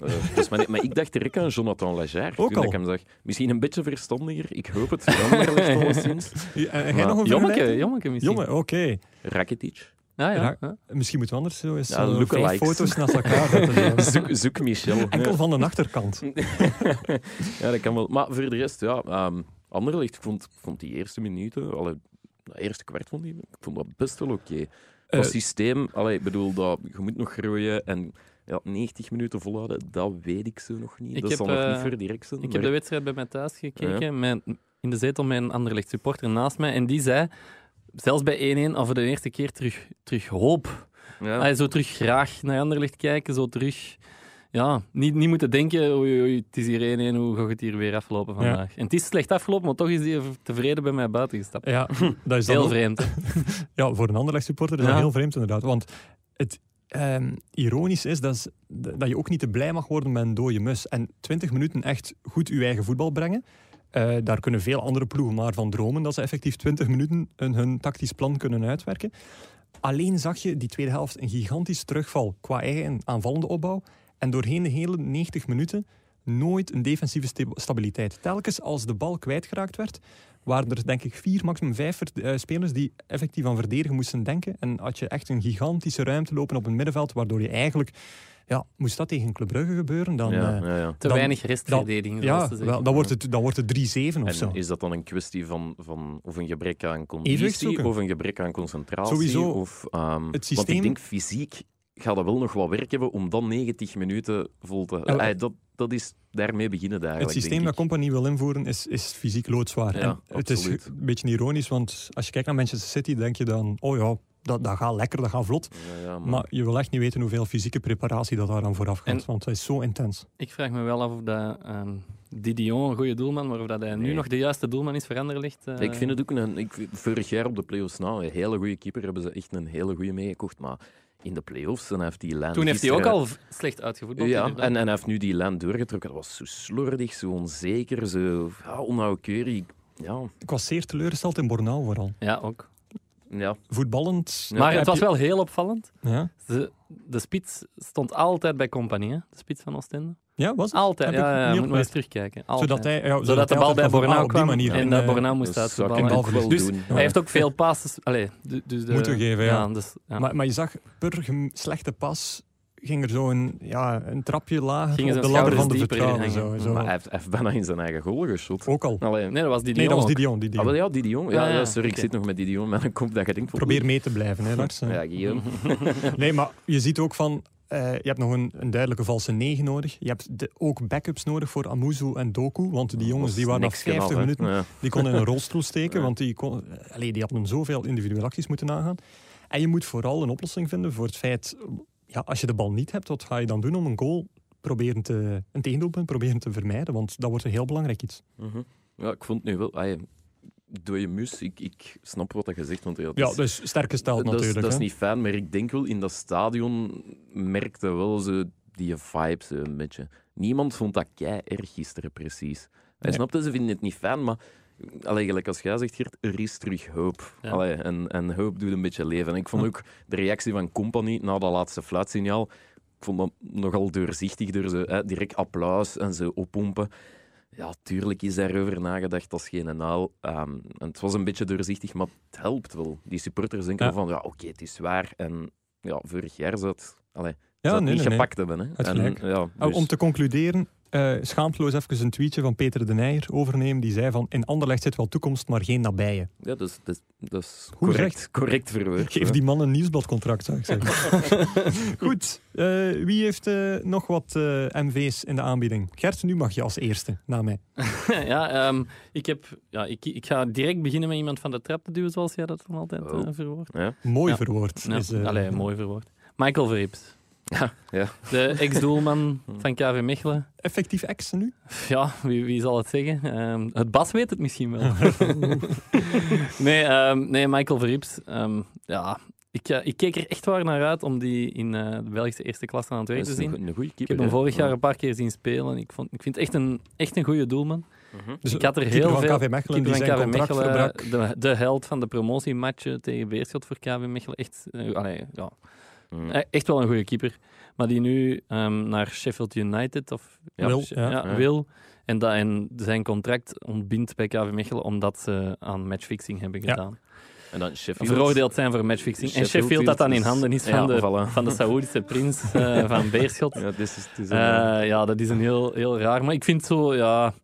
Speaker 2: eh, dus maar, niet- maar ik dacht direct aan Jonathan Lagarde
Speaker 1: Ook
Speaker 2: toen
Speaker 1: al.
Speaker 2: ik hem zag. Misschien een beetje verstandiger, ik hoop het. Verstandiger alleszins.
Speaker 1: Ja, En, en Eh, jij
Speaker 2: Maar
Speaker 1: nog een vergelijking?
Speaker 4: Jommeke, jommeke misschien.
Speaker 1: Jongen, oké.
Speaker 2: Rakitic.
Speaker 4: Ja, ja.
Speaker 1: Ra- Misschien moeten we anders zo eens
Speaker 2: Ja,
Speaker 1: zo
Speaker 2: lookalikes.
Speaker 1: vijf foto's naast elkaar zetten. zo.
Speaker 2: Zoek, zoek Michel.
Speaker 1: Enkel van de achterkant.
Speaker 2: Ja, dat kan wel. Maar voor de rest, ja, ehm Anderlecht, ik vond, vond die eerste minuten, allee, dat eerste kwart vond die, ik vond dat best wel oké.
Speaker 1: Eh,
Speaker 2: dat systeem, allee, ik bedoel, dat, je moet nog groeien en ja, 90 minuten volhouden, dat weet ik zo nog niet.
Speaker 4: Ik
Speaker 2: dat
Speaker 4: heb,
Speaker 2: zal nog niet
Speaker 4: eh,
Speaker 2: voor direct zijn.
Speaker 4: Ik
Speaker 2: maar-
Speaker 4: heb de wedstrijd bij mij thuis gekeken, mijn, in de zetel met een Anderlecht supporter naast mij. En die zei, zelfs bij 1-1, al voor de eerste keer terug, terug hoop.
Speaker 2: ja.
Speaker 4: Hij zo terug graag naar Anderlecht kijken, zo terug... Ja, niet, niet moeten denken, oei, oei, het is hier 1-1, hoe gaat het hier weer aflopen vandaag? En het is slecht afgelopen, maar toch is hij tevreden bij mij buiten gestapt.
Speaker 1: Ja, dat is Eh, dan
Speaker 4: Heel
Speaker 1: ook-
Speaker 4: vreemd. hè?
Speaker 1: Ja, voor een ander supporter is dat
Speaker 4: Ja.
Speaker 1: heel vreemd inderdaad. Want het ehm, ironisch is dat, is- dat je ook niet te blij mag worden met een dode mus. En 20 minuten echt goed je eigen voetbal brengen. eh, daar kunnen veel andere ploegen maar van dromen dat ze effectief 20 minuten hun, hun tactisch plan kunnen uitwerken. Alleen zag je die tweede helft een gigantisch terugval qua eigen aanvallende opbouw. En doorheen de hele 90 minuten nooit een defensieve sta- stabiliteit. Telkens als de bal kwijtgeraakt werd, waren er denk ik vier, maximum vijf verd- eh, spelers die effectief aan verdedigen moesten denken. En had je echt een gigantische ruimte lopen op het middenveld, waardoor je eigenlijk... Ja, moest dat tegen Club Brugge gebeuren, dan...
Speaker 2: ja,
Speaker 1: eh,
Speaker 2: ja, ja.
Speaker 4: Te
Speaker 1: Dan-
Speaker 4: weinig restverdediging, zoals
Speaker 1: ja,
Speaker 4: te zeggen.
Speaker 1: wel, dan wordt het, dan wordt het 3-7 of zo.
Speaker 2: En is dat dan een kwestie van, van of een gebrek aan
Speaker 1: Evenwicht
Speaker 2: conditie,
Speaker 1: zoeken.
Speaker 2: of een gebrek aan concentratie?
Speaker 1: Sowieso,
Speaker 2: Of, ehm, Want
Speaker 1: systeem-
Speaker 2: ik denk fysiek gaat dat wel nog wat werk hebben om dan 90 minuten vol te...
Speaker 1: Ja, maar-
Speaker 2: Eh, dat, dat is, daarmee beginnen daar
Speaker 1: Het
Speaker 2: eigenlijk,
Speaker 1: systeem
Speaker 2: denk
Speaker 1: dat
Speaker 2: ik.
Speaker 1: Company wil invoeren is, is fysiek loodzwaar.
Speaker 2: Ja,
Speaker 1: en het is
Speaker 2: absoluut.
Speaker 1: een beetje ironisch, want als je kijkt naar Manchester City, denk je dan, oh ja, dat, dat gaat lekker, dat gaat vlot.
Speaker 2: Ja, ja, maar-
Speaker 1: Maar je wil echt niet weten hoeveel fysieke preparatie dat daar dan vooraf gaat,
Speaker 4: En-
Speaker 1: want dat is zo intens.
Speaker 4: Ik vraag me wel af of dat, ehm Didion een goede doelman, maar of dat hij nu
Speaker 2: Nee.
Speaker 4: nog de juiste doelman is veranderd ligt. eh,
Speaker 2: Ik vind het ook een. Ik, vind- vorig jaar op de playoffs na, een hele goede keeper hebben ze echt een hele goede meegekocht. Maar in de playoffs, en hij heeft die lijn.
Speaker 4: Toen heeft hij ook
Speaker 2: gisteren-
Speaker 4: al v- slecht uitgevoerd.
Speaker 2: Ja, en, en hij heeft nu die lijn doorgetrokken. Dat was zo slordig, zo onzeker, zo ja, onnauwkeurig. Ja,
Speaker 1: Ik was zeer teleurgesteld in Bornau vooral.
Speaker 4: ja ook.
Speaker 2: ja.
Speaker 1: Voetballend...
Speaker 4: maar
Speaker 1: heb
Speaker 4: het was
Speaker 1: je-
Speaker 4: wel heel opvallend.
Speaker 1: Ja,
Speaker 4: Ze- de spits stond altijd bij Compagnie, hè? de spits van Oostende.
Speaker 1: ja was het?
Speaker 4: Altijd,
Speaker 1: Heb ik
Speaker 4: ja, ja,
Speaker 1: niet
Speaker 4: moet nog eens
Speaker 1: opgelet.
Speaker 4: terugkijken. Altijd.
Speaker 1: Zodat, hij, ja, zodat,
Speaker 4: Zodat de
Speaker 1: hij
Speaker 4: bal
Speaker 1: altijd
Speaker 4: bij
Speaker 1: van, ah,
Speaker 4: Bornau
Speaker 1: op die
Speaker 4: kwam
Speaker 1: manier.
Speaker 4: en
Speaker 1: eh,
Speaker 4: dat Bornau moest
Speaker 2: dat
Speaker 4: uit
Speaker 2: zou
Speaker 4: de
Speaker 2: ik
Speaker 1: en
Speaker 4: bal.
Speaker 1: bal
Speaker 2: ook wel
Speaker 1: Dus-
Speaker 2: doen.
Speaker 4: Hij heeft ook veel passes allee, du- dus de,
Speaker 1: Moeten geven, ja.
Speaker 4: dus, ja.
Speaker 1: Maar, maar je zag, per gem- slechte pas ging er zo een, ja, een trapje lager
Speaker 4: Gingen
Speaker 1: op
Speaker 4: ze
Speaker 1: de ladder
Speaker 4: schouders
Speaker 1: van de
Speaker 4: dieper
Speaker 1: vertrouwen. Zo,
Speaker 4: inhangen.
Speaker 1: zo.
Speaker 2: Maar hij heeft, hij heeft bijna in zijn eigen goal geschot.
Speaker 1: Ook al.
Speaker 2: Allee,
Speaker 4: nee, dat was Didion
Speaker 1: Nee, dat was
Speaker 4: ook.
Speaker 1: die Dion. Die Dion.
Speaker 2: Ah, wel ja, die Dion. Ja,
Speaker 4: Ah, ja,
Speaker 2: ja, sorry,
Speaker 4: oké.
Speaker 2: ik zit nog met die Dion met een kop dat je denkt... van,
Speaker 1: Probeer mee te blijven, hè, Lars.
Speaker 2: Ja, Guillaume.
Speaker 1: Nee, maar je ziet ook van... eh, je hebt nog een, een duidelijke valse 9 nodig. Je hebt de- ook backups nodig voor Amuzu en Doku. Want die jongens die waren na
Speaker 2: nog
Speaker 1: 50 minuten...
Speaker 2: Ja.
Speaker 1: Die konden in een rolstoel steken.
Speaker 2: Ja.
Speaker 1: Want die, kon, eh, allee, die hadden zoveel individuele acties moeten nagaan. En je moet vooral een oplossing vinden voor het feit... Ja, als je de bal niet hebt, wat ga je dan doen om een goal... Proberen te, een tegendoelpunt proberen te vermijden, want dat wordt een heel belangrijk iets.
Speaker 2: Mhm. ja, ik vond nu wel... Ay, dode mus, ik, ik snap wat dat je zegt, want ja, het
Speaker 1: Ja,
Speaker 2: is-
Speaker 1: dus sterk gesteld
Speaker 2: Dat is,
Speaker 1: natuurlijk.
Speaker 2: dat is
Speaker 1: hè.
Speaker 2: niet fijn, maar ik denk wel in dat stadion merkte wel ze die vibes eh, een beetje. Niemand vond dat kei erg gisteren precies. Hij
Speaker 1: Nee.
Speaker 2: snapte, ze vinden het niet fijn, maar allee, gelijk als jij zegt, Geert, er is terug hoop.
Speaker 4: Ja.
Speaker 2: Allee, en, en hoop doet een beetje leven. En ik vond ook de reactie van Company na dat laatste fluitsignaal, ik vond dat nogal doorzichtig door ze hè, direct applaus en ze oppompen. Ja, tuurlijk is daarover nagedacht als geen en al. Ehm, en het was een beetje doorzichtig, maar het helpt wel. Die supporters denken
Speaker 1: Ja.
Speaker 2: van, ja, oké, het is waar. En ja, vorig jaar zou het, allee, zou
Speaker 1: Ja,
Speaker 2: het
Speaker 1: nee,
Speaker 2: niet
Speaker 1: nee, nee.
Speaker 2: gepakt hebben. Hè.
Speaker 1: Het gelijk.
Speaker 2: ja,
Speaker 4: Oh,
Speaker 1: Nou,
Speaker 2: dus-
Speaker 1: Om te concluderen, eh, schaamteloos even een tweetje van Peter de Nijer overnemen. Die zei van, in Anderlecht zit wel toekomst, maar geen nabije.
Speaker 2: ja, dat is, dat is, dat is
Speaker 1: Goed
Speaker 2: correct, correct verwoord.
Speaker 1: Geef
Speaker 4: eh.
Speaker 2: hè.
Speaker 1: die man een nieuwsbladcontract, zou ik zeggen. Goed, eh, wie heeft eh, nog wat eh, MV's in de aanbieding? Gert, nu mag je als eerste, na mij.
Speaker 4: ja, ehm, ik, heb, ja ik, ik ga direct beginnen met iemand van de trap te duwen, zoals jij dat dan altijd eh,
Speaker 2: Oh.
Speaker 4: verwoordt.
Speaker 1: Mooi
Speaker 4: Ja.
Speaker 1: verwoord.
Speaker 4: Ja.
Speaker 1: is, eh,
Speaker 4: Allee, mooi verwoord. Michael Verrips.
Speaker 2: ja. Hmm.
Speaker 4: De ex-doelman van KV Mechelen.
Speaker 1: Effectief ex nu?
Speaker 4: Ja, wie, wie zal het zeggen? Ehm, het Bas weet het misschien wel. nee, ehm, nee, Michael Verrips. ehm, ja, ik, eh, ik keek er echt waar naar uit om die in eh, de Belgische eerste klasse aan het werk
Speaker 2: Dat
Speaker 4: te
Speaker 2: is een,
Speaker 4: zien.
Speaker 2: goe- een goede keeper.
Speaker 4: Ik heb
Speaker 2: hè.
Speaker 4: hem vorig
Speaker 2: Ja.
Speaker 4: jaar een paar keer zien spelen. Ik, vond, ik vind het echt een, echt een goede doelman.
Speaker 2: Mhm.
Speaker 1: Dus
Speaker 4: Ik had er
Speaker 1: keeper
Speaker 4: heel
Speaker 1: van
Speaker 4: veel-
Speaker 1: KV Mechelen,
Speaker 4: Keeper
Speaker 1: die zijn
Speaker 4: van KV
Speaker 1: contract
Speaker 4: Mechelen, eh,
Speaker 1: verbrak.
Speaker 4: de, de held van de promotiematchen tegen Beerschot voor KV Mechelen. Echt, eh, allee, ja,
Speaker 2: Mhm.
Speaker 4: Eh, Echt wel een goede keeper. Maar die nu ehm, naar Sheffield United of
Speaker 2: Ja.
Speaker 1: Wil,
Speaker 4: Sh-
Speaker 1: ja.
Speaker 2: Ja.
Speaker 4: wil. En, dat, en zijn contract ontbindt bij KV Mechelen omdat ze aan matchfixing hebben
Speaker 1: Ja.
Speaker 4: gedaan.
Speaker 2: En dan Sheffield.
Speaker 4: Veroordeeld zijn voor matchfixing. en
Speaker 2: Sheffield
Speaker 4: Sheffield dat dan in
Speaker 2: is-
Speaker 4: handen is van
Speaker 2: Ja,
Speaker 4: de,
Speaker 2: voilà.
Speaker 4: van de Saoedische prins eh, van Beerschot.
Speaker 2: Ja, dit is, dit is een-
Speaker 4: Eh, ja, dat is een heel, heel raar. Maar ik vind zo, ja.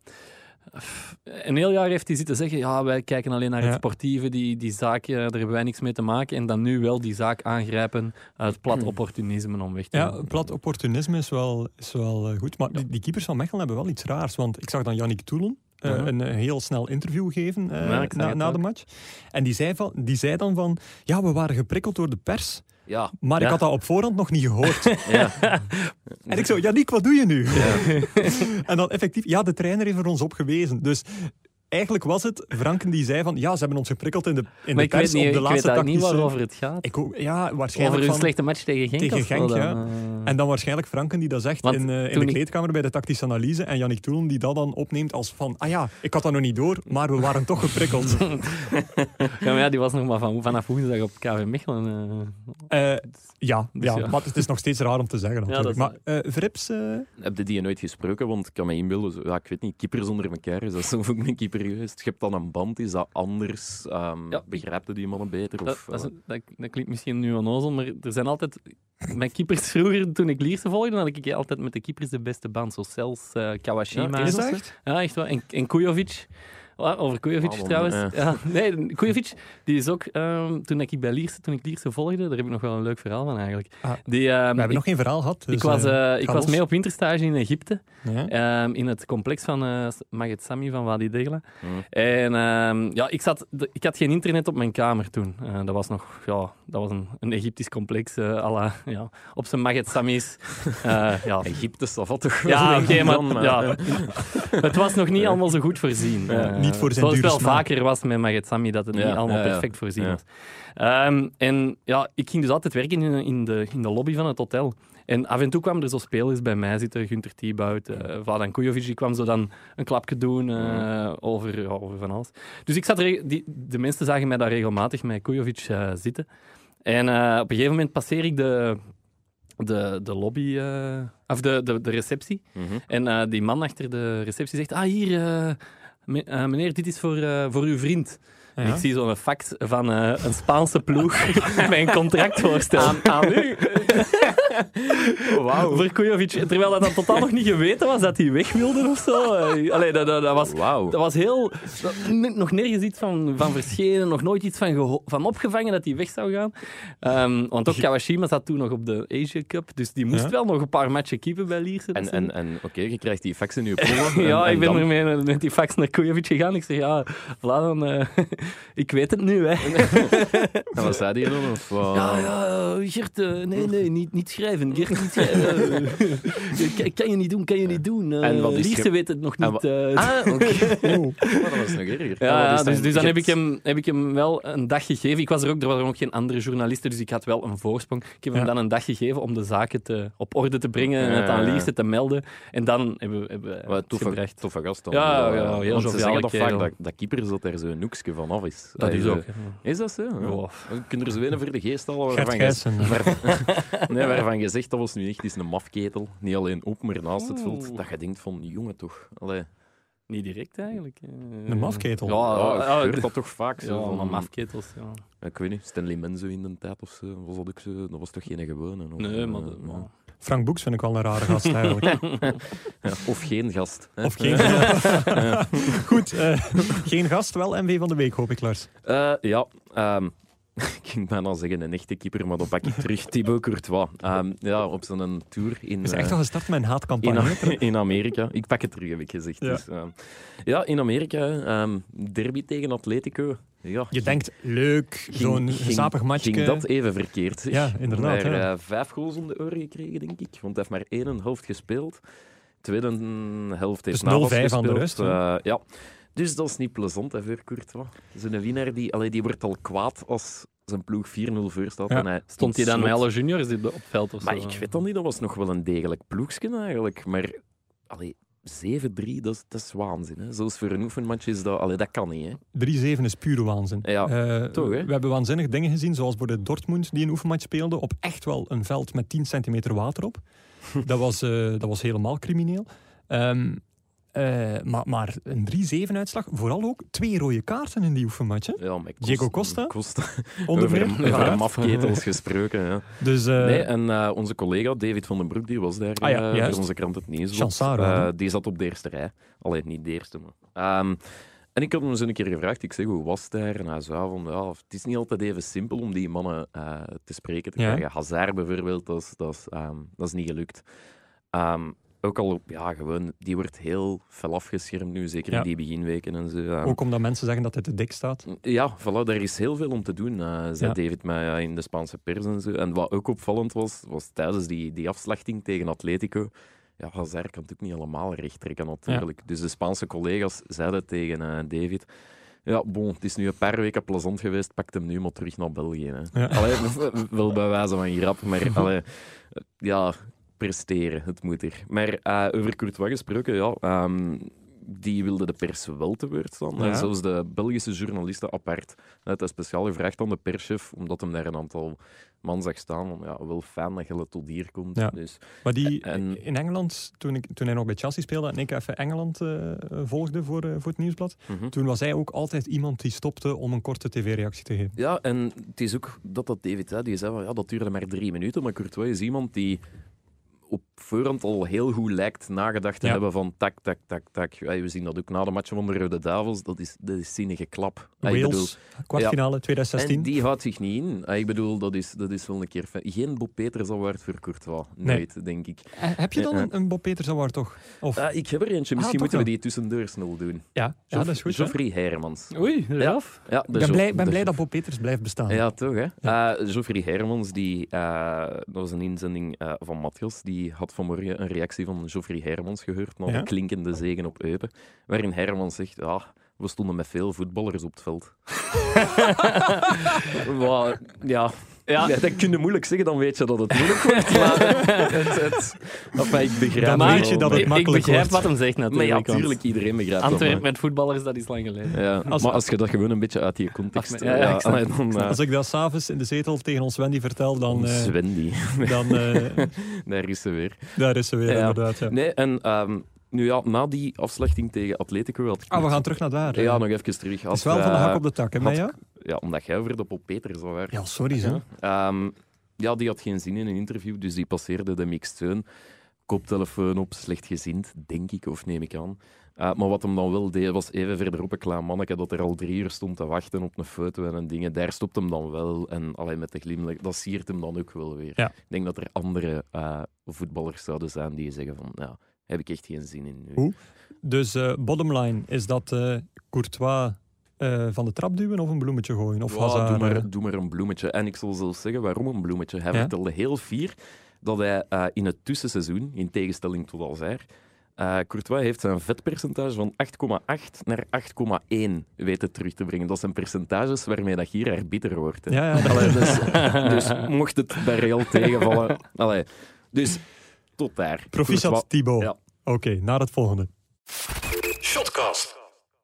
Speaker 4: pff, Een heel jaar heeft hij zitten zeggen: ja, wij kijken alleen naar
Speaker 1: Ja.
Speaker 4: het sportieve, die, die zaak, eh, daar hebben wij niks mee te maken. En dan nu wel die zaak aangrijpen uit plat opportunisme om weg te
Speaker 1: Hm. Ja, plat opportunisme is wel, is wel eh, goed. Maar die, die keepers van Mechelen hebben wel iets raars. Want ik zag dan Yannick Toelen eh,
Speaker 4: Ja.
Speaker 1: een eh, heel snel interview geven eh,
Speaker 4: Ja, ik zag
Speaker 1: na,
Speaker 4: het
Speaker 1: na
Speaker 4: ook.
Speaker 1: de match. En die zei, van, die zei dan van... Ja, we waren geprikkeld door de pers,
Speaker 2: ja.
Speaker 1: maar
Speaker 2: Ja.
Speaker 1: ik had dat op voorhand nog niet gehoord.
Speaker 2: Ja.
Speaker 1: en ik zo, Yannick, wat doe je nu? en dan effectief, ja, de trainer heeft er ons op gewezen. Dus... Eigenlijk was het Franken die zei van ja, ze hebben ons geprikkeld in de, in
Speaker 4: Maar
Speaker 1: de
Speaker 4: ik weet,
Speaker 1: pers
Speaker 4: niet,
Speaker 1: op de
Speaker 4: ik weet
Speaker 1: laatste
Speaker 4: daar
Speaker 1: tactische...
Speaker 4: niet waarover het gaat.
Speaker 1: Ik ook- ja, waarschijnlijk
Speaker 4: Over hun
Speaker 1: van-
Speaker 4: slechte match tegen Genk.
Speaker 1: Tegen
Speaker 4: of zo
Speaker 1: Genk,
Speaker 4: dan,
Speaker 1: ja.
Speaker 4: eh.
Speaker 1: En dan waarschijnlijk Franken die dat zegt
Speaker 4: Want
Speaker 1: in, eh, in
Speaker 4: toen
Speaker 1: de
Speaker 4: ik-
Speaker 1: kleedkamer bij de tactische analyse. En Yannick Toelen die dat dan opneemt als van... Ah ja, ik had dat nog niet door, maar we waren toch geprikkeld.
Speaker 4: Ja, maar ja, die was nog maar van, vanaf woensdag op KV Mechelen. eh.
Speaker 1: Eh, ja,
Speaker 4: Dus
Speaker 1: ja,
Speaker 4: ja.
Speaker 1: maar het is nog steeds raar om te zeggen.
Speaker 4: Ja, dat
Speaker 1: Natuurlijk.
Speaker 4: is-
Speaker 1: maar eh, Vrips, eh,
Speaker 2: Heb je die nooit gesproken? Want ik kan me inbeelden, zo- ja, ik weet niet, keepers onder elkaar, is dat zo ook een keeper geweest? Je hebt dan een band, is dat anders? Ehm
Speaker 4: Ja.
Speaker 2: Begrijpt je die mannen beter?
Speaker 4: dat,
Speaker 2: Of,
Speaker 4: dat, is-
Speaker 2: eh,
Speaker 4: dat, dat klinkt misschien nu onnozel, maar er zijn altijd... Mijn keepers vroeger, toen ik Lierse volgde, had ik altijd met de keepers de beste band. Zo Cels, eh, Kawashima.
Speaker 2: Ja,
Speaker 1: is dat echt?
Speaker 4: Ja, echt wel. En, en Kujovic. Wa- Over Kujovic
Speaker 2: Waarom,
Speaker 4: trouwens.
Speaker 2: eh?
Speaker 4: Ja, nee, Kujovic, die is ook... ehm, toen ik bij Lierse, toen ik Lierse volgde, daar heb ik nog wel een leuk verhaal van eigenlijk.
Speaker 1: Ah,
Speaker 4: die, ehm,
Speaker 1: We hebben
Speaker 4: ik,
Speaker 1: nog geen verhaal gehad. dus,
Speaker 4: ik was,
Speaker 1: eh,
Speaker 4: eh, ik
Speaker 1: ga
Speaker 4: was
Speaker 1: los.
Speaker 4: mee op winterstage in Egypte.
Speaker 1: ja.
Speaker 4: Ehm, in het complex van eh Maget Sami van Wadi Degla.
Speaker 2: Hmm.
Speaker 4: En ehm, ja, ik, zat, de- ik had geen internet op mijn kamer toen. Eh, dat was nog ja, dat was een, een Egyptisch complex eh, à la, ja, op zijn Maget Sami's. Eh, ja.
Speaker 2: Egypte, dat valt toch wel
Speaker 4: Ja,
Speaker 2: een
Speaker 4: oké,
Speaker 2: dan, eh,
Speaker 4: maar ja, het was nog niet allemaal zo goed voorzien. Eh,
Speaker 1: niet voor zijn
Speaker 4: Zoals het
Speaker 1: dure
Speaker 4: wel
Speaker 1: smaak.
Speaker 4: vaker was met Maget Sami, dat het
Speaker 2: Ja,
Speaker 4: niet allemaal
Speaker 2: ja, ja.
Speaker 4: perfect voorzien
Speaker 2: Ja.
Speaker 4: was. Ehm, en ja, ik ging dus altijd werken in, in, de, in de lobby van het hotel. En af en toe kwamen er zo spelers bij mij zitten. Gunter Thibaut, eh Vladan Kujovic, die kwam zo dan een klapje doen eh, over, ja, over van alles. Dus ik zat re- die, de mensen zagen mij daar regelmatig met Kujovic eh, zitten. En eh, op een gegeven moment passeer ik de, de, de lobby, eh, of de, de, de receptie.
Speaker 2: Mhm.
Speaker 4: En eh, die man achter de receptie zegt: Ah, hier, eh, me- eh, meneer, dit is voor, eh, voor uw vriend. En
Speaker 1: Ja.
Speaker 4: ik zie zo'n fax van eh, een Spaanse ploeg met een contractvoorstel. Aan, u?
Speaker 2: Wauw.
Speaker 4: Voor Kujovic. Terwijl dat dan totaal nog niet geweten was dat hij weg wilde of zo. Eh, Allee, dat, dat, dat was...
Speaker 2: Wauw.
Speaker 4: Dat was heel... dat- n- nog nergens iets van, van verschenen, nog nooit iets van, geho- van opgevangen dat hij weg zou gaan. Ehm, want ook Kawashima zat toen nog op de Asia Cup, dus die moest
Speaker 1: Ja.
Speaker 4: wel nog een paar matchen keeper bij Lierse. dat
Speaker 2: En,
Speaker 4: ze-
Speaker 2: en, en oké, je krijgt die fax in je polo.
Speaker 4: ja,
Speaker 2: en- en
Speaker 4: ik ben
Speaker 2: dan-
Speaker 4: ermee naar- met die fax naar Kujovic gegaan. Ik zeg, ja, Vladan, eh, ik weet het nu,
Speaker 2: Oh.
Speaker 4: hè.
Speaker 2: En wat zei die dan? Of, eh,
Speaker 4: Ja, ja, eh, Gert, eh, nee, nee, niet, niet schrijven. Gert, niet schrijven. Eh, kan, kan je niet doen, kan je niet doen. Eh,
Speaker 2: En wat is
Speaker 4: Lierse
Speaker 2: ge-
Speaker 4: weet het nog
Speaker 2: En
Speaker 4: niet.
Speaker 2: wa-
Speaker 4: eh.
Speaker 2: Ah, oké.
Speaker 1: Oh.
Speaker 2: Maar dat was nog erger.
Speaker 4: Ja,
Speaker 2: Ah,
Speaker 4: ja, dus,
Speaker 2: dan-
Speaker 4: dus dan
Speaker 2: je
Speaker 4: heb ik,
Speaker 2: hebt-
Speaker 4: hem, heb ik hem wel een dag gegeven. Ik was er ook, er waren ook geen andere journalisten, dus ik had wel een voorsprong. Ik heb hem
Speaker 1: Ja.
Speaker 4: dan een dag gegeven om de zaken te, op orde te brengen en
Speaker 2: Ja,
Speaker 4: het aan
Speaker 2: ja, ja.
Speaker 4: Lierse te melden. En dan hebben we, hebben we
Speaker 2: Wat
Speaker 4: het
Speaker 2: toffe,
Speaker 4: gebracht.
Speaker 2: toffe gast dan.
Speaker 4: Ja,
Speaker 2: Wel,
Speaker 4: ja,
Speaker 2: eh,
Speaker 4: heel
Speaker 2: want ze
Speaker 4: joviale
Speaker 2: zeggen dat vaak
Speaker 4: kerel.
Speaker 2: dat, dat keepers dat er zo'n noekske van af is.
Speaker 4: Dat is
Speaker 2: eh,
Speaker 4: ook.
Speaker 2: Is dat zo? Ja.
Speaker 4: Wow.
Speaker 2: We kunnen er zo een voor de geest halen
Speaker 1: Gert
Speaker 2: waarvan, je,
Speaker 1: Gijssen.
Speaker 2: nee, waarvan je zegt dat was nu echt is een mafketel. Niet alleen op, maar naast het veld. Dat je denkt van, jongen toch. Allee.
Speaker 4: Niet direct eigenlijk. eh.
Speaker 1: Een mafketel.
Speaker 4: Ja,
Speaker 2: Ja,
Speaker 4: ja,
Speaker 2: ik
Speaker 4: ja,
Speaker 2: hoor Oh, dat toch vaak.
Speaker 4: ja,
Speaker 2: Zo, van, Oh,
Speaker 4: maar mafketels. Ja.
Speaker 2: Ik weet niet, Stanley Menzo in de tijd of zo. Was dat, ook zo, dat was toch geen gewone? Of,
Speaker 4: Nee, maar,
Speaker 2: eh,
Speaker 4: dat- maar-
Speaker 1: Frank Boeks vind ik wel een rare gast eigenlijk.
Speaker 2: ja. Of geen gast. hè.
Speaker 1: Of geen Goed, eh, geen gast, wel MV van de week hoop ik, Lars.
Speaker 2: Eh, ja, ehm, ik ging bijna zeggen een echte keeper, maar dan pak ik terug Thibaut Courtois. Ehm, ja, op zijn tour in...
Speaker 1: Is
Speaker 2: eh,
Speaker 1: echt al gestart met een
Speaker 2: in,
Speaker 1: haatcampagne.
Speaker 2: A- in Amerika. Ik pak het terug, heb ik gezegd.
Speaker 1: Ja.
Speaker 2: Dus, ehm, ja, in Amerika. hè, ehm, derby tegen Atletico. Ja,
Speaker 1: Je denkt, leuk,
Speaker 2: ging-
Speaker 1: zo'n
Speaker 2: ging-
Speaker 1: sapig matchje.
Speaker 2: Ging dat even verkeerd, zeg.
Speaker 1: Ja, inderdaad,
Speaker 2: Maar,
Speaker 1: ja.
Speaker 2: eh, vijf goals om de oren gekregen, denk ik. Want hij heeft maar één en helft gespeeld. Tweede helft heeft
Speaker 1: Dus
Speaker 2: Navas
Speaker 1: 0-5 aan de
Speaker 2: gespeeld.
Speaker 1: rust, hè?
Speaker 2: Eh, ja. Dus dat is niet plezant, hè, voor Courtois. Zo'n winnaar, die, allee, die wordt al kwaad als zijn ploeg 4-0 voor staat.
Speaker 1: Ja.
Speaker 2: En hij
Speaker 4: Stond hij dan
Speaker 2: slot-
Speaker 4: met alle juniors die op het veld of
Speaker 2: maar
Speaker 4: zo?
Speaker 2: ik weet dat niet, dat was nog wel een degelijk ploegsken eigenlijk. Maar allee, 7-3, dat, is- dat is waanzin. Hè? Zelfs voor een oefenmatch is dat... Allee, dat kan niet, hè.
Speaker 1: 3-7 is pure waanzin.
Speaker 2: Ja,
Speaker 1: Eh,
Speaker 2: toch, hè?
Speaker 1: We hebben waanzinnig dingen gezien, zoals bij de Dortmund die een oefenmatch speelde op echt wel een veld met 10 centimeter water op. dat, was, eh, dat was helemaal crimineel. Ehm, eh, maar, maar een 3-7 uitslag, vooral ook twee rode kaarten in die oefenmatch. hè?
Speaker 2: Ja, maar
Speaker 1: Diego Costa?
Speaker 2: Costa.
Speaker 1: Onder
Speaker 2: over
Speaker 1: meer.
Speaker 2: over
Speaker 1: Ja.
Speaker 2: mafketels gesproken, ja.
Speaker 1: Dus eh,
Speaker 2: Nee, en eh, onze collega David van den Broek, die was daar
Speaker 1: Ah ja,
Speaker 2: eh,
Speaker 1: juist.
Speaker 2: voor onze krant het nieuws.
Speaker 1: Chansaro,
Speaker 2: Eh,
Speaker 1: hè?
Speaker 2: die zat op de eerste rij. Alleen niet de eerste, maar... Ehm, en ik had hem eens een keer gevraagd, ik zeg, hoe was het daar? En hij zei van, ja, het is niet altijd even simpel om die mannen eh, te spreken te
Speaker 1: Ja.
Speaker 2: krijgen. Hazard bijvoorbeeld, dat is, dat is, ehm, dat is niet gelukt. Ehm, ook al, ja, gewoon, die wordt heel fel afgeschermd nu, zeker
Speaker 1: Ja.
Speaker 2: in die beginweken en zo. Ehm,
Speaker 1: ook omdat mensen zeggen dat hij te dik staat.
Speaker 2: ja, voilà, daar is heel veel om te doen, eh, zei
Speaker 1: Ja.
Speaker 2: David mij eh, in de Spaanse pers en zo. En wat ook opvallend was, was tijdens die, die afslachting tegen Atletico. Ja, Hazard kan het ook niet allemaal recht trekken, natuurlijk. Dus de Spaanse collega's zeiden tegen eh, David. Ja, bon, het is nu een paar weken plezant geweest, pak hem nu maar terug naar België. Hè.
Speaker 1: Ja.
Speaker 2: Allee, wel bij wijze van grap, maar allee, ja, presteren, het moet er. Maar eh, over Courtois gesproken, ja, ehm, die wilde de pers wel te woord staan.
Speaker 1: Ja.
Speaker 2: En zelfs de Belgische journalisten apart. Het is speciaal gevraagd aan de perschef, omdat hem daar een aantal man zag staan. Van, Ja, wel fijn dat je tot hier komt.
Speaker 1: Ja.
Speaker 2: Dus,
Speaker 1: Maar die
Speaker 2: En-
Speaker 1: in Engeland, toen, ik, toen hij nog bij Chelsea speelde en ik even Engeland eh, eh, volgde voor, eh, voor het nieuwsblad,
Speaker 2: mhm.
Speaker 1: toen was hij ook altijd iemand die stopte om een korte tv-reactie te geven.
Speaker 2: Ja, en het is ook dat dat David hè, die zei van ja, dat duurde maar drie minuten. Maar Courtois is iemand die op voorhand al heel goed lijkt nagedacht te
Speaker 1: Ja.
Speaker 2: hebben van tak, tak, tak, tak. Ja, we zien dat ook na de match van de Rode Duivels. Dat is, dat is zinnige klap. Ja, ik bedoel,
Speaker 1: Wales, kwartfinale
Speaker 2: en
Speaker 1: 2016.
Speaker 2: die houdt zich niet in. Ja, Ik bedoel, dat is, dat is wel een keer... fijn. Geen Bob Peters award voor Courtois.
Speaker 1: Nee.
Speaker 2: Nooit, denk ik.
Speaker 1: Eh, Heb je dan
Speaker 2: Eh, eh.
Speaker 1: een, een Bob Peters Award toch? Of,
Speaker 2: Ah, ik heb er eentje.
Speaker 1: Ah,
Speaker 2: Misschien
Speaker 1: toch
Speaker 2: moeten
Speaker 1: wel.
Speaker 2: we die tussendoor snel doen.
Speaker 1: ja, ja, dat is goed. hè?
Speaker 2: Geoffrey Hermans.
Speaker 4: Oei, Ralf.
Speaker 2: Ja,
Speaker 1: Ik ben blij, ben blij dat Bob Peters blijft bestaan.
Speaker 2: Ja, toch, hè? Eh Geoffrey Hermans, die, eh, dat was een inzending eh, van Matjas, die had vanmorgen een reactie van Geoffrey Hermans gehoord na
Speaker 1: Ja?
Speaker 2: de klinkende zegen op Eupen, waarin Hermans zegt, ah, we stonden met veel voetballers op het veld. Wat, ja... Ja. dat kun je moeilijk zeggen, dan weet je dat het moeilijk wordt. Maar het, het, enfin, ik begrijp
Speaker 1: Dan
Speaker 2: het
Speaker 1: weet je
Speaker 2: wel.
Speaker 1: dat het
Speaker 4: Ik, ik
Speaker 1: makkelijk
Speaker 4: begrijp
Speaker 1: wordt.
Speaker 4: wat hem zegt
Speaker 2: Maar
Speaker 4: natuurlijk.
Speaker 2: ja,
Speaker 4: want
Speaker 2: natuurlijk, iedereen begrijpt dat.
Speaker 4: Antwerpen
Speaker 2: maar-
Speaker 4: met voetballers, dat is lang geleden.
Speaker 2: Ja.
Speaker 1: Als-
Speaker 2: maar als je dat gewoon een beetje uit je context...
Speaker 4: Ach, nee, ja, ja, ik snap
Speaker 2: allee,
Speaker 4: het,
Speaker 2: dan,
Speaker 4: ik snap
Speaker 2: eh,
Speaker 1: Als ik dat s'avonds in de zetel tegen ons Wendy vertel, dan, eh,
Speaker 2: Zwendi.
Speaker 1: dan eh,
Speaker 2: Daar is ze weer.
Speaker 1: daar is ze weer
Speaker 2: Ja.
Speaker 1: inderdaad. Ja.
Speaker 2: Nee, en ehm, nu ja, na die afslachting tegen Atletico had ik
Speaker 1: Ah, we
Speaker 2: nog-
Speaker 1: gaan terug naar daar. hè.
Speaker 2: Ja, nog even terug.
Speaker 1: het
Speaker 2: Had,
Speaker 1: is wel van de hak
Speaker 2: eh,
Speaker 1: op de tak, hè,
Speaker 2: had-
Speaker 1: Maya?
Speaker 2: Ja, omdat jij over de Bob Peters al werd.
Speaker 1: Ja, sorry. zo.
Speaker 2: Ehm, ja, die had geen zin in een interview, dus die passeerde de mixteun. Koptelefoon op, slecht gezind, denk ik, of neem ik aan. Eh, maar wat hem dan wel deed, was even verderop een klein manneke dat er al drie uur stond te wachten op een foto en een dingen. Daar stopt hem dan wel. En alleen met de glimlach, dat siert hem dan ook wel weer.
Speaker 1: Ja.
Speaker 2: Ik denk dat er andere eh, voetballers zouden zijn die zeggen van, nou, heb ik echt geen zin in nu.
Speaker 1: Hoe? Dus eh bottom line is dat eh, Courtois eh, van de trap duwen of een bloemetje gooien? Of
Speaker 2: Ja,
Speaker 1: Hazard,
Speaker 2: doe,
Speaker 1: eh,
Speaker 2: maar, doe maar een bloemetje. En ik zal zelfs zeggen waarom een bloemetje. Hij
Speaker 1: Ja?
Speaker 2: vertelde heel fier dat hij eh, in het tussenseizoen, in tegenstelling tot Alzair, eh Courtois heeft zijn vetpercentage van 8,8 naar 8,1 weten terug te brengen. Dat zijn percentages waarmee dat hier arbiter wordt. hè.
Speaker 1: Ja, ja, dat-
Speaker 2: Allee, dus, dus mocht het bij Real tegenvallen... Allee, dus tot daar.
Speaker 1: Proficiat
Speaker 2: Courtois-
Speaker 1: Thibaut.
Speaker 2: Ja.
Speaker 1: Oké, naar het volgende.
Speaker 3: Shotcast.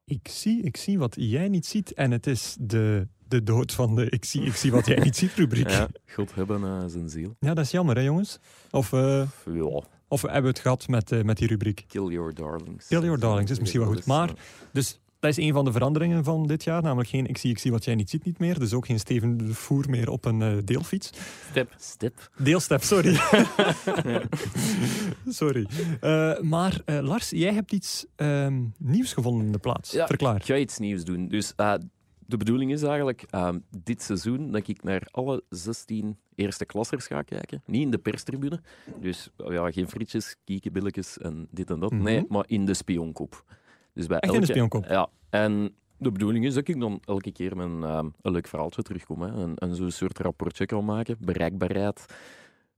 Speaker 1: Ik zie, ik zie wat jij niet ziet. En het is de, de dood van de ik zie, ik zie wat jij niet ziet rubriek. Ja,
Speaker 2: Ja, God hebben eh, zijn ziel.
Speaker 1: dat is jammer hè jongens. Of, eh,
Speaker 2: Ja,
Speaker 1: of hebben we het gehad met, eh, met die rubriek.
Speaker 2: kill your darlings.
Speaker 1: Kill your darlings is misschien wel goed, maar- Dus dat is een van de veranderingen van dit jaar. Namelijk geen ik zie, ik zie wat jij niet ziet niet meer. Dus ook geen Steven de Voer meer op een eh, deelfiets.
Speaker 4: Step.
Speaker 2: Step.
Speaker 1: Deelstep, sorry. sorry. Eh, maar eh, Lars, jij hebt iets ehm, nieuws gevonden in de plaats.
Speaker 2: Ja,
Speaker 1: Verklaar.
Speaker 2: Ik ga iets nieuws doen. Dus eh, de bedoeling is eigenlijk ehm, dit seizoen dat ik naar alle 16 eerste klassers ga kijken. Niet in de perstribune. Dus oh ja, geen frietjes, kiekenbilletjes en dit en dat.
Speaker 1: Mhm.
Speaker 2: Nee, maar in de spionkop. Dus bij
Speaker 1: Echt in de spionkop?
Speaker 2: Ja. En de bedoeling is dat ik dan elke keer met een, ehm, een leuk verhaaltje terugkom. Hè, en, en zo'n soort rapportje kan maken. Bereikbaarheid.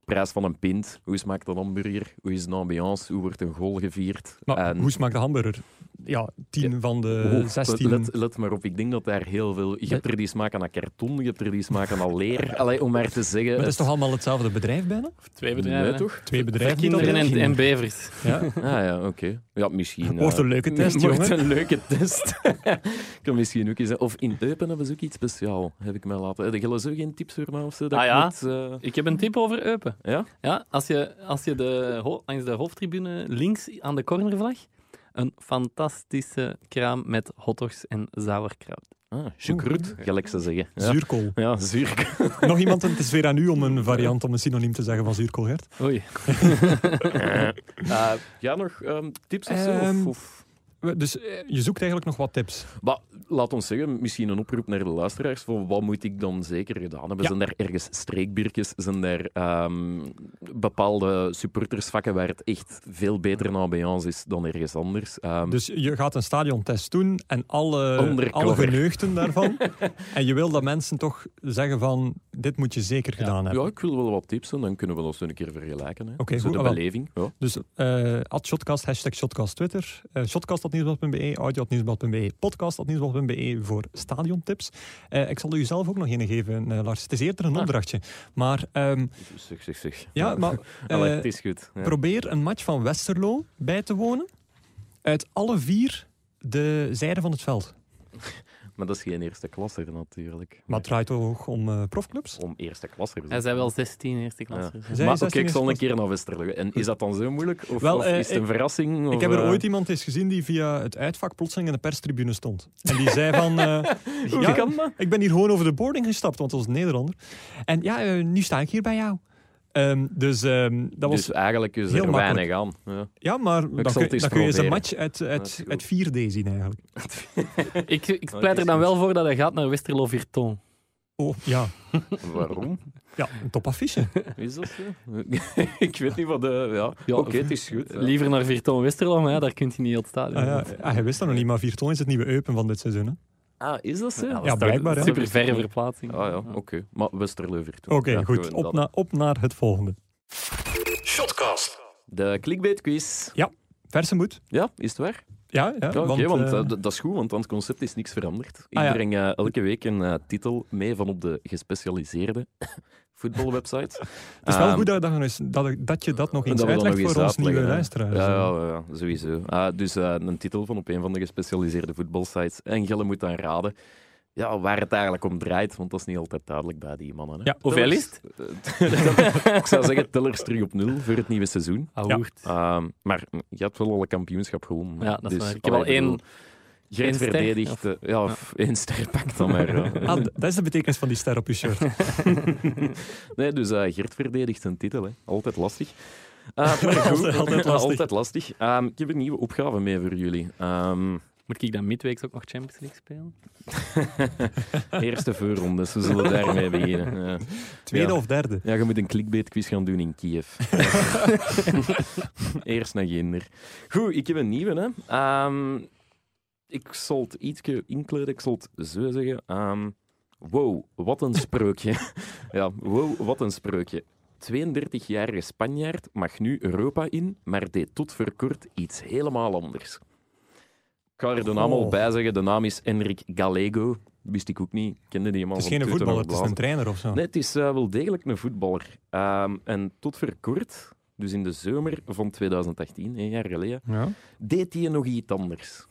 Speaker 2: Prijs van een pint. Hoe smaakt een hamburger? Hoe is de ambiance? Hoe wordt een goal gevierd?
Speaker 1: Maar
Speaker 2: En-
Speaker 1: hoe smaakt de hamburger? Ja, 10 van de
Speaker 2: Oh,
Speaker 1: 16.
Speaker 2: Let, let maar op, ik denk dat daar heel veel... Je hebt er die smaak aan karton, je hebt er die smaak aan leer. Allee, om maar te zeggen...
Speaker 1: Maar dat is
Speaker 2: het-
Speaker 1: toch allemaal hetzelfde bedrijf bijna?
Speaker 4: Twee
Speaker 2: Nee,
Speaker 4: bedrijven.
Speaker 2: toch?
Speaker 1: Twee bedrijven. die dat
Speaker 4: Kinderen en,
Speaker 1: doen?
Speaker 4: en bevers.
Speaker 1: Ja.
Speaker 2: Ah ja, oké. Ja, misschien...
Speaker 1: Wordt
Speaker 2: eh,
Speaker 1: een leuke test,
Speaker 2: wordt
Speaker 1: jongen.
Speaker 2: een leuke test. kan misschien ook eens... Of in Eupen hebben ze ook iets speciaals, heb ik mij laten... Heb je zo geen tips voor mij of zo? Dat
Speaker 4: Ah
Speaker 2: ik
Speaker 4: ja?
Speaker 2: moet, eh,
Speaker 4: Ik heb een tip over Eupen.
Speaker 2: ja?
Speaker 4: Ja, als je, als je de, ho- langs de hoofdtribune links aan de cornervlag een fantastische kraam met hotdogs en sauerkraut.
Speaker 2: Ah, choucroute, gelijk ze zeggen. Ja,
Speaker 1: Zuurkool.
Speaker 2: ja zuur.
Speaker 1: Nog iemand, en het is weer aan u om een variant, om een synoniem te zeggen van zuurkool, Gert.
Speaker 4: Oei.
Speaker 2: Eh, ja, nog ehm, tips of zo?
Speaker 1: Ehm,
Speaker 2: Of- of...
Speaker 1: We- Dus eh, je zoekt eigenlijk nog wat tips.
Speaker 2: Maar laat ons zeggen, misschien een oproep naar de luisteraars. Van wat moet ik dan zeker gedaan hebben?
Speaker 1: Ja.
Speaker 2: Zijn daar ergens streekbiertjes? Zijn daar ehm, bepaalde supportersvakken waar het echt veel beter een ambiance is dan ergens anders? Ehm,
Speaker 1: Dus je gaat een stadiontest doen en alle,
Speaker 2: Undercover.
Speaker 1: alle geneugten daarvan. en je wil dat mensen toch zeggen van, dit moet je zeker gedaan hebben.
Speaker 2: ja, ik wil wel wat tips en dan kunnen we ons een keer vergelijken. hè.
Speaker 1: Oké,
Speaker 2: Zo
Speaker 1: goed,
Speaker 2: de
Speaker 1: ah, wel.
Speaker 2: beleving. Ja.
Speaker 1: Dus eh at shotcast, hashtag shotcast Twitter, eh shotcast.nieuwsblad.be, audio.nieuwsblad.be, podcast.nieuwsblad.be E voor stadiontips. Eh, ik zal u zelf ook nog een geven, eh, Lars. Het is eerder een
Speaker 2: Ah.
Speaker 1: opdrachtje. Maar ehm,
Speaker 2: Zeg, zeg, zeg.
Speaker 1: ja, maar eh,
Speaker 2: Allee, het is goed. Ja.
Speaker 1: probeer een match van Westerlo bij te wonen. uit alle vier de zijden van het veld.
Speaker 2: Maar dat is geen eerste klasser natuurlijk.
Speaker 1: Maar het draait toch om eh, profclubs?
Speaker 2: Om eerste klasser.
Speaker 4: Hij zei wel 16 eerste klasse.
Speaker 1: Zij
Speaker 2: maar
Speaker 1: is
Speaker 2: oké,
Speaker 1: zestien
Speaker 2: ik zal een
Speaker 1: eerste
Speaker 2: keer naar Westerlo. En is dat dan zo moeilijk? Of,
Speaker 1: Wel,
Speaker 2: of
Speaker 1: eh,
Speaker 2: is het een
Speaker 1: ik-
Speaker 2: verrassing? of,
Speaker 1: Ik heb er
Speaker 2: eh,
Speaker 1: ooit iemand eens gezien die via het uitvak plotseling in de perstribune stond. En die zei van... eh,
Speaker 2: Hoe
Speaker 1: ja,
Speaker 2: kan dat?
Speaker 1: ik ben hier gewoon over de boarding gestapt, want dat was een Nederlander. En ja, eh, nu sta ik hier bij jou. Ehm, dus ehm, dat was...
Speaker 2: Dus eigenlijk is
Speaker 1: heel
Speaker 2: er weinig aan. Ja.
Speaker 1: ja, maar dan
Speaker 2: zal
Speaker 1: kun,
Speaker 2: het eens
Speaker 1: dan kun je eens een
Speaker 2: proberen.
Speaker 1: match uit,
Speaker 2: is
Speaker 1: uit,
Speaker 2: goed.
Speaker 1: uit 4D zien eigenlijk.
Speaker 4: Ik, ik
Speaker 2: het
Speaker 4: pleit
Speaker 2: is
Speaker 4: er dan
Speaker 2: goed.
Speaker 4: wel voor dat hij gaat naar Westerlo Virton.
Speaker 1: Oh, ja.
Speaker 2: Waarom?
Speaker 1: Ja, een topaffiche.
Speaker 2: Is dat zo? ik weet niet wat de... Ja,
Speaker 4: Ja,
Speaker 2: oké, het is goed. ja.
Speaker 4: Liever naar Virton Westerlo, maar ja, daar kunt hij niet heel het stadion.
Speaker 1: Ah, ja. Ah, hij wist dat nog niet, maar Vierton is het nieuwe Eupen van dit seizoen. hè.
Speaker 2: Ah, is dat zo?
Speaker 4: Ja,
Speaker 2: Ah,
Speaker 1: Ja, blijkbaar, hè.
Speaker 4: Super verre verplaatsing.
Speaker 2: ja, oké. Maar Westerlo Virtus.
Speaker 1: Oké,
Speaker 2: Ja,
Speaker 1: goed.
Speaker 2: gewoon
Speaker 1: Op,
Speaker 2: dat.
Speaker 1: na- op naar het volgende.
Speaker 3: Shotcast.
Speaker 2: De clickbait quiz.
Speaker 1: Verse moed.
Speaker 2: Ja, is het waar?
Speaker 1: Ja, ja.
Speaker 2: Ja,
Speaker 1: want,
Speaker 2: oké, want
Speaker 1: eh,
Speaker 2: eh, d- dat is goed, want aan het concept is niks veranderd. Ik
Speaker 1: Ah, ja.
Speaker 2: breng eh, elke week een eh, titel mee van op de gespecialiseerde voetbalwebsite.
Speaker 1: het is wel
Speaker 2: Ehm,
Speaker 1: goed dat, je dat, nog eens- dat, dat je dat nog
Speaker 2: En
Speaker 1: eens
Speaker 2: dat we dat
Speaker 1: uitlegt
Speaker 2: nog eens
Speaker 1: voor ons nieuwe
Speaker 2: uitleggen,
Speaker 1: luisteraars.
Speaker 2: hè. Ja, ja, ja, sowieso. Ah, dus eh, een titel van op een van de gespecialiseerde voetbalsites. En Gelle moet dan raden ja, waar het eigenlijk om draait, want dat is niet altijd duidelijk bij die mannen. Hè.
Speaker 1: Ja,
Speaker 4: hoeveel
Speaker 2: Tellers- ik zou zeggen, tellers terug op nul voor het nieuwe seizoen.
Speaker 4: Ah,
Speaker 1: Ja.
Speaker 4: woerd.
Speaker 2: Ehm, maar je hebt wel al een kampioenschap gewonnen.
Speaker 4: Ja, dat is
Speaker 2: dus,
Speaker 4: waar. Ik heb al
Speaker 2: allee,
Speaker 4: één-
Speaker 2: bedoel, Gert
Speaker 4: één ster,
Speaker 2: verdedigt... eh, ja, of één ster pakt dan maar. ja.
Speaker 1: Ah, d- dat is de betekenis van die ster op je shirt.
Speaker 2: Nee, dus eh, Gert verdedigt zijn titel. Hè. Altijd lastig. Eh, maar goed.
Speaker 1: Altijd- altijd lastig.
Speaker 2: Altijd lastig. Ehm, ik heb een nieuwe opgave mee voor jullie. Ehm,
Speaker 4: Moet ik dan midweeks ook nog Champions League spelen?
Speaker 2: eerste voorrondes, we zullen daarmee beginnen. Ja.
Speaker 1: Tweede
Speaker 2: Ja.
Speaker 1: of derde.
Speaker 2: Ja, je moet een clickbait-quiz gaan doen in Kiev. Eerst naar Ginder. Goed, ik heb een nieuwe. Hè. Ehm, ik zal het ietsje inkleden. Ik zal het zo zeggen. Ehm, wow, wat een spreukje. ja, wow, wat een spreukje. 32-jarige Spanjaard mag nu Europa in, maar deed tot voor kort iets helemaal anders. Ik ga er de naam al
Speaker 1: Goh.
Speaker 2: bij zeggen. De naam is Enric Gallego. Wist ik ook niet. Ik Kende die man
Speaker 1: Het is
Speaker 2: van
Speaker 1: geen
Speaker 2: Toeten en
Speaker 1: voetballer, het is
Speaker 2: Blazen.
Speaker 1: een trainer of zo.
Speaker 2: Nee, het is eh, wel degelijk een voetballer. Ehm, en tot voor kort, dus in de zomer van 2018, een jaar geleden,
Speaker 1: Ja.
Speaker 2: deed hij nog iets anders.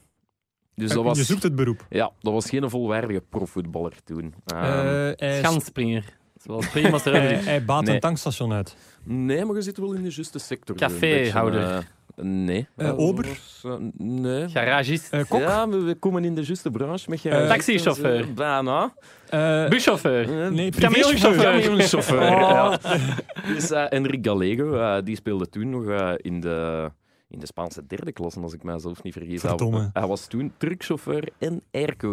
Speaker 2: Dus
Speaker 1: Eh,
Speaker 2: dat
Speaker 1: Je
Speaker 2: was,
Speaker 1: zoekt het beroep.
Speaker 2: ja, dat was geen volwaardige profvoetballer toen. Ehm,
Speaker 1: Eh,
Speaker 4: Eh,
Speaker 1: hij,
Speaker 4: Schanspringer. Zoals Prima
Speaker 1: hij,
Speaker 4: Sterling.
Speaker 1: hij baat
Speaker 2: Nee.
Speaker 1: een tankstation uit.
Speaker 2: Nee, maar je zit wel in de juiste sector. zo een
Speaker 4: Caféhouder.
Speaker 2: beetje, eh, nee.
Speaker 1: Eh,
Speaker 2: Eh,
Speaker 1: ober?
Speaker 2: was, eh, nee.
Speaker 4: Oh. Garagist.
Speaker 1: Eh, kok?
Speaker 2: Ja, we, we komen in de juiste branche met garagisten.
Speaker 4: Taxichauffeur.
Speaker 2: Bijna.
Speaker 1: Eh,
Speaker 4: Buschauffeur.
Speaker 2: Eh,
Speaker 1: nee,
Speaker 4: Kameelchauffeur.
Speaker 1: privéchauffeur.
Speaker 2: Kameelchauffeur.
Speaker 4: Oh.
Speaker 2: Dus eh, Enric Gallego, eh, die speelde toen nog eh, in, de, in de Spaanse derde klasse, als ik mijzelf niet vergis. Hij-
Speaker 1: Verdomme.
Speaker 2: Hij was toen truckchauffeur en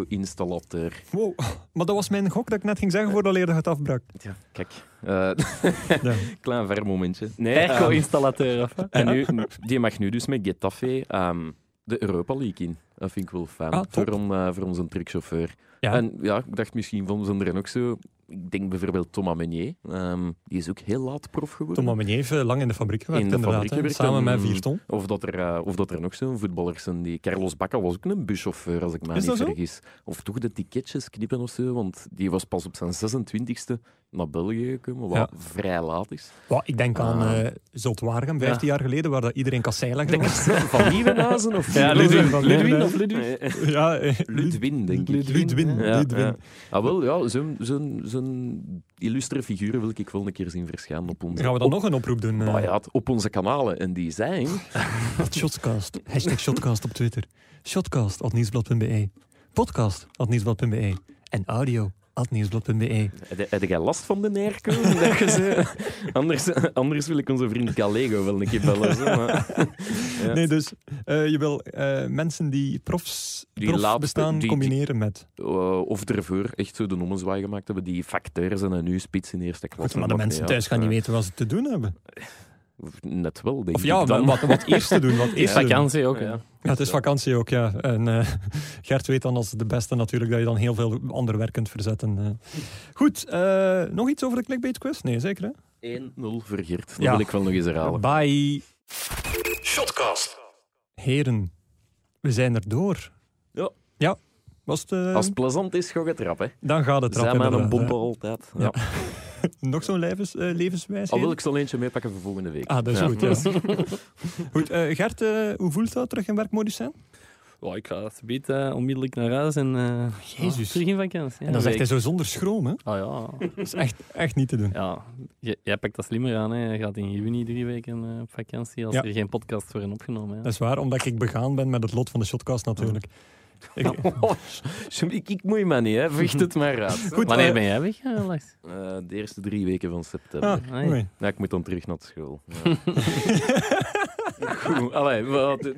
Speaker 2: airco-installateur.
Speaker 1: Wow. Maar dat was mijn gok dat ik net ging
Speaker 2: Eh.
Speaker 1: zeggen voordat je het afbrak.
Speaker 2: Ja, kijk. eh,
Speaker 1: Ja.
Speaker 2: klein ver momentje.
Speaker 4: eh,
Speaker 2: Nee, ehm,
Speaker 4: Airco-installateur. of wat?
Speaker 2: en nu, die mag nu dus met Getafe ehm, de Europa League in. Dat vind ik wel fijn
Speaker 1: Ah, top.
Speaker 2: voor, on- eh, voor onze truckchauffeur.
Speaker 1: Ja.
Speaker 2: En ja, ik dacht misschien van zijn er ook zo... Ik denk bijvoorbeeld Thomas Meunier. ehm, die is ook heel laat prof geworden.
Speaker 1: Tom Amenier heeft eh, lang in de fabriek gewerkt,
Speaker 2: In de
Speaker 1: inderdaad.
Speaker 2: fabriek
Speaker 1: hè.
Speaker 2: gewerkt
Speaker 1: Samen
Speaker 2: en-
Speaker 1: met Vierton.
Speaker 2: Of dat, er, eh, of dat er nog zo'n voetballers zijn die... Carlos Bacca was ook een buschauffeur, als ik me
Speaker 1: Is
Speaker 2: niet
Speaker 1: dat zo?
Speaker 2: vergis. Of toch de ticketjes knippen of zo, want die was pas op zijn 26e naar België gekomen, wat vrij laat is.
Speaker 1: Wow, ik denk aan
Speaker 2: Ah.
Speaker 1: eh Zulte Waregem, 15 jaar geleden, waar dat iedereen kasseilagger was.
Speaker 2: Van Nieuwenhuizen of...
Speaker 4: Ja,
Speaker 1: Ludwin.
Speaker 4: Ludwig. Ludwig
Speaker 1: Ludwig.
Speaker 4: of Ludwig?
Speaker 2: Eh, eh,
Speaker 1: Ja, eh,
Speaker 2: Ludwin, denk ik.
Speaker 1: Ludwin,
Speaker 2: Ja,
Speaker 1: Ludwin.
Speaker 2: ja. Ah, wel, ja, zo'n zo'n zo'n illustre figuur wil ik wel een keer zien verschijnen op onze...
Speaker 1: Gaan we dan
Speaker 2: op,
Speaker 1: nog een oproep doen? eh,
Speaker 2: nou ja, op onze kanalen. En die zijn...
Speaker 1: Shotcast. Hashtag Shotcast op Twitter. Shotcast at nieuwsblad.be. Podcast at nieuwsblad.be. En audio at nieuwsblad.be.
Speaker 2: Heb- Heb jij last van de nerko? Dat je zo- anders, anders wil ik onze vriend Gallego wel een keer bellen. zo, maar- Ja.
Speaker 1: Nee, dus eh, je wil eh, mensen die profs
Speaker 2: Die
Speaker 1: prof
Speaker 2: laatste-
Speaker 1: bestaan
Speaker 2: die- die-
Speaker 1: combineren met.
Speaker 2: Eh, of ervoor echt zo de ommezwaai gemaakt hebben, die facteurs en nu spits in eerste klasse.
Speaker 1: maar de
Speaker 2: Dat-
Speaker 1: mensen
Speaker 2: ja,
Speaker 1: thuis gaan niet
Speaker 2: eh,
Speaker 1: weten wat ze te doen hebben.
Speaker 2: Net wel, denk
Speaker 1: Of ja,
Speaker 2: ik. dan.
Speaker 1: wat, wat eerst te doen. Wat
Speaker 4: Is
Speaker 1: eerst te doen.
Speaker 4: vakantie ook. hè.
Speaker 2: Ja.
Speaker 1: Ja, het is vakantie ook, ja. En eh, Gert weet dan als de beste natuurlijk dat je dan heel veel ander werk kunt verzetten. eh. Goed, eh, nog iets over de clickbait quiz? Nee, zeker hè?
Speaker 2: 1-0 voor Geert. Dat
Speaker 1: Ja.
Speaker 2: wil ik wel nog eens herhalen.
Speaker 1: Bye.
Speaker 3: Shotcast.
Speaker 1: Heren, we zijn er door.
Speaker 2: Ja.
Speaker 1: Ja. Was het, eh,
Speaker 2: Als het plezant is, ga je het rap. Hè.
Speaker 1: Dan gaat het
Speaker 2: Zijn maar
Speaker 1: inderdaad,
Speaker 2: een
Speaker 1: hè.
Speaker 2: bombe altijd. Ja.
Speaker 1: Nog zo'n levens, eh, levenswijsheid?
Speaker 2: Al wil Ah, ik zo eentje meepakken voor volgende week.
Speaker 1: Ah, dat is
Speaker 2: Ja.
Speaker 1: goed, ja. goed eh, Gert, eh, hoe voelt dat terug in werkmodus zijn?
Speaker 4: Oh, ik ga alsjeblieft eh, onmiddellijk naar huis en... eh,
Speaker 1: Jezus.
Speaker 4: ah, terug in vakantie. Ja,
Speaker 1: En dan zegt hij
Speaker 4: week.
Speaker 1: zo zonder schroom, hè?
Speaker 4: Ah ja.
Speaker 1: Dat is echt, echt niet te doen.
Speaker 4: Ja, j- jij pakt dat slimmer aan. Hè. Je gaat in juni drie weken eh, op vakantie als
Speaker 1: Ja.
Speaker 4: er geen podcasts worden opgenomen.
Speaker 1: Dat
Speaker 4: Hè.
Speaker 1: is waar, omdat ik begaan ben met het lot van de shotcast natuurlijk. Ik,
Speaker 2: Oh, ik, ik moei me niet, hè. vecht het maar uit.
Speaker 1: goed,
Speaker 4: Wanneer
Speaker 1: eh,
Speaker 4: ben jij weg, eh, Lars?
Speaker 2: Eh, de eerste drie weken van september.
Speaker 1: ah,
Speaker 4: Hoi.
Speaker 1: oei.
Speaker 2: Ja, ik moet dan terug naar school. Ja. Goed, allee, wat,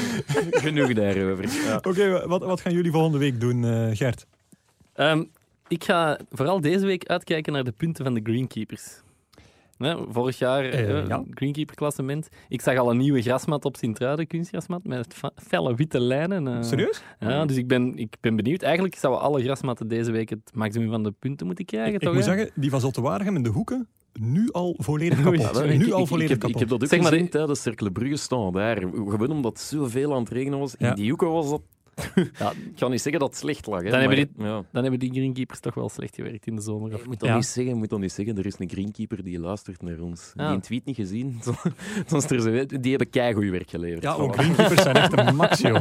Speaker 2: genoeg daarover. Ja.
Speaker 1: Oké, wat, wat gaan jullie volgende week doen, eh, Gert?
Speaker 4: Ehm, ik ga vooral deze week uitkijken naar de punten van de Greenkeepers. Hè, vorig jaar
Speaker 1: Eh,
Speaker 4: eh,
Speaker 1: ja.
Speaker 4: Greenkeeper-klassement. Ik zag al een nieuwe grasmat op Sint-Truiden, kunstgrasmat, met fa- felle witte lijnen. eh.
Speaker 1: Serieus?
Speaker 4: Ja, dus ik ben, ik ben benieuwd. Eigenlijk zouden alle grasmatten deze week het maximum van de punten moeten krijgen,
Speaker 1: Ik, ik
Speaker 4: toch?
Speaker 1: moet
Speaker 4: hè?
Speaker 1: zeggen, die van Zottewaardigem in de hoeken, nu al volledig
Speaker 4: Oei.
Speaker 1: kapot.
Speaker 2: wel,
Speaker 1: nu
Speaker 2: ik-
Speaker 1: al
Speaker 2: ik, ik,
Speaker 1: volledig
Speaker 2: heb, ik
Speaker 1: kapot.
Speaker 2: heb dat ook
Speaker 4: Zeg maar,
Speaker 2: gezien tijdens Cercle Brugge staan daar. Gewoon omdat het zoveel aan het regenen was.
Speaker 1: Ja.
Speaker 2: In die hoeken was dat...
Speaker 4: Ja,
Speaker 2: Ik ga niet zeggen dat het slecht lag. Hè,
Speaker 4: Dan hebben
Speaker 2: maar-
Speaker 4: die-
Speaker 2: Ja.
Speaker 4: Dan hebben die greenkeepers toch wel slecht gewerkt in de zomer. Of
Speaker 2: Je moet dat
Speaker 1: Ja.
Speaker 2: niet zeggen, je moet dat niet zeggen. Er is een greenkeeper die luistert naar ons.
Speaker 4: Ah.
Speaker 2: Die een tweet niet gezien. Soms er zo, die hebben keigoed werk geleverd.
Speaker 1: Ja,
Speaker 2: Voilà.
Speaker 1: ook greenkeepers zijn echt een maxio.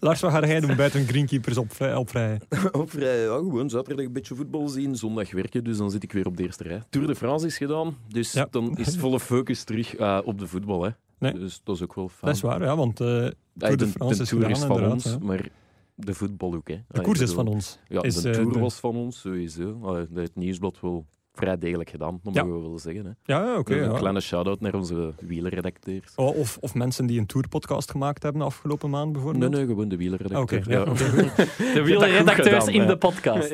Speaker 1: Lars, wat ga jij doen buiten greenkeepers op, vrij- op vrij?
Speaker 2: Op vrij, ja, gewoon zaterdag een beetje voetbal zien, zondag werken, dus dan zit ik weer op de eerste rij. Tour de France is gedaan, dus
Speaker 1: Ja.
Speaker 2: dan is volle focus terug eh, op de voetbal. Hè.
Speaker 1: Nee.
Speaker 2: Dus dat is ook wel fijn.
Speaker 1: Dat is waar, ja, want eh,
Speaker 2: Ah,
Speaker 1: Tour de France is
Speaker 2: Tour is
Speaker 1: gedaan,
Speaker 2: van ons,
Speaker 1: inderdaad, ja.
Speaker 2: maar de voetbal ook. Hè. Ah,
Speaker 1: de
Speaker 2: ik
Speaker 1: koers is
Speaker 2: bedoel,
Speaker 1: van ons.
Speaker 2: Ja,
Speaker 1: is,
Speaker 2: de
Speaker 1: eh,
Speaker 2: Tour
Speaker 1: de-
Speaker 2: was van ons, sowieso. Ah, het nieuwsblad wel vrij degelijk gedaan, dat
Speaker 1: Ja.
Speaker 2: mogen we wel zeggen. Hè.
Speaker 1: Ja, ja oké.
Speaker 2: een
Speaker 1: ja.
Speaker 2: kleine shout-out naar onze wielerredacteurs.
Speaker 1: Oh, Of, of mensen die een tourpodcast gemaakt hebben afgelopen maand bijvoorbeeld.
Speaker 2: Nee, nee, gewoon de
Speaker 1: Ah, Oké,
Speaker 2: wielerredacteur.
Speaker 1: ja,
Speaker 2: ja.
Speaker 1: oké, goed.
Speaker 4: De
Speaker 2: wielerredacteurs
Speaker 4: wielerredacteurs
Speaker 2: in
Speaker 4: in
Speaker 2: de
Speaker 4: de podcast.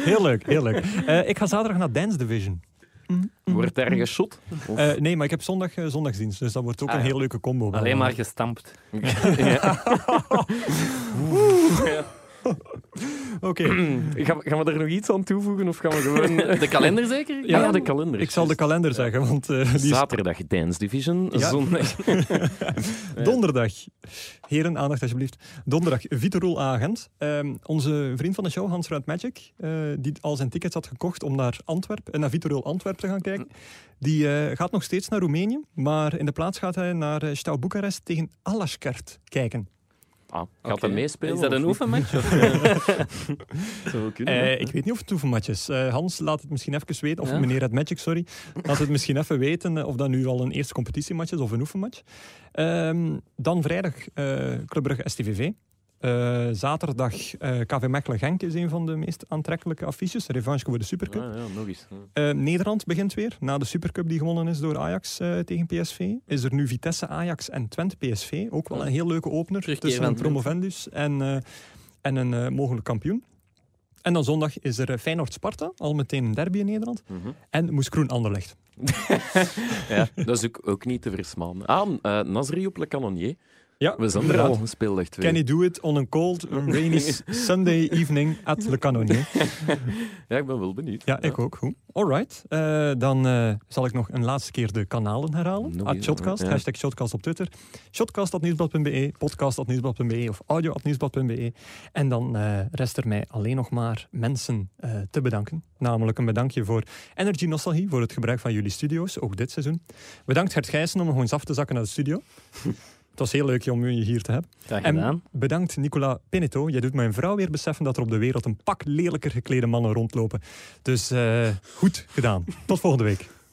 Speaker 1: heel leuk, heel leuk. Eh, ik ga zaterdag naar Dance Division.
Speaker 2: Wordt daar geschot? Of-
Speaker 1: Eh, nee, maar ik heb zondag eh, zondagsdienst, dus dat wordt ook
Speaker 4: Ah,
Speaker 1: een
Speaker 4: ja.
Speaker 1: heel leuke combo.
Speaker 4: Alleen maar gestampt.
Speaker 2: Ja.
Speaker 1: Oké,
Speaker 2: Gaan, we- gaan we er nog iets aan toevoegen of gaan we gewoon...
Speaker 4: De kalender zeker?
Speaker 2: Ja, de kalender.
Speaker 1: ik zal de kalender zeggen, want eh, die is
Speaker 2: Zaterdag Dance Division,
Speaker 1: Ja.
Speaker 2: zondag...
Speaker 1: Donderdag. Heren, aandacht alsjeblieft. Donderdag, Vitorul Agent. Ehm, onze vriend van de show, Hans Ruit Magic, eh, die al zijn tickets had gekocht om naar Antwerpen, en naar Vitorul Antwerpen te gaan kijken, die eh, gaat nog steeds naar Roemenië, maar in de plaats gaat hij naar eh Steaua Boekarest tegen Alaskert kijken.
Speaker 2: Ah, gaat
Speaker 4: Oké.
Speaker 2: dat meespelen?
Speaker 4: Is dat een
Speaker 2: of niet?
Speaker 4: oefenmatch? of-
Speaker 2: Zou wel kunnen, hè?
Speaker 1: Eh, ik weet niet of het toefenmatch is. Eh, Hans, laat het misschien even weten, of
Speaker 4: Ja.
Speaker 1: meneer Red Magic, sorry, laat het misschien even weten eh, of dat nu al een eerste competitiematch is of een oefenmatch. Ehm, dan vrijdag eh Club Brugge STVV. Eh, zaterdag eh, KV Mechelen Genk is een van de meest aantrekkelijke affiches. Revanche voor de Supercup.
Speaker 2: Ah, ja, nog eens.
Speaker 1: Eh, Nederland begint weer. Na de Supercup die gewonnen is door Ajax eh, tegen PSV, is er nu Vitesse, Ajax en Twente PSV. Ook wel een heel leuke opener
Speaker 4: Terugkeer
Speaker 1: tussen
Speaker 4: van
Speaker 1: een
Speaker 4: Twente.
Speaker 1: promovendus en, eh, en een eh, mogelijk kampioen. En dan zondag is er eh, Feyenoord-Sparta, al meteen een derby in Nederland.
Speaker 2: Mhm.
Speaker 1: En Moes Kroen Anderlecht.
Speaker 2: Ja, dat is ook, ook niet te versmaden. Ah, eh Nasri op Le Canonnier.
Speaker 1: Ja,
Speaker 2: We zijn er
Speaker 1: inderdaad.
Speaker 2: al, speeldag twee.
Speaker 1: Can you do it on a cold, rainy s- Sunday evening at Le Canonier?
Speaker 2: Ja, ik ben wel benieuwd.
Speaker 1: Ja, ik ook. Goed. Alright. Eh, dan eh, zal ik nog een laatste keer de kanalen herhalen.
Speaker 2: Nog
Speaker 1: At
Speaker 2: eens,
Speaker 1: Shotcast,
Speaker 2: ja.
Speaker 1: hashtag Shotcast op Twitter. Shotcast.nieuwsblad.be, podcast.nieuwsblad.be of audio.nieuwsblad.be. En dan eh, rest er mij alleen nog maar mensen eh, te bedanken. Namelijk een bedankje voor Energy Nostalgie, voor het gebruik van jullie studio's, ook dit seizoen. Bedankt Gert Gijssen om nog eens af te zakken naar de studio. Het was heel leuk om je hier te hebben.
Speaker 4: Graag
Speaker 1: En-
Speaker 4: gedaan.
Speaker 1: Bedankt, Nicola Pineto. Jij doet mijn vrouw weer beseffen dat er op de wereld een pak lelijker geklede mannen rondlopen. Dus eh, goed gedaan. Tot volgende week.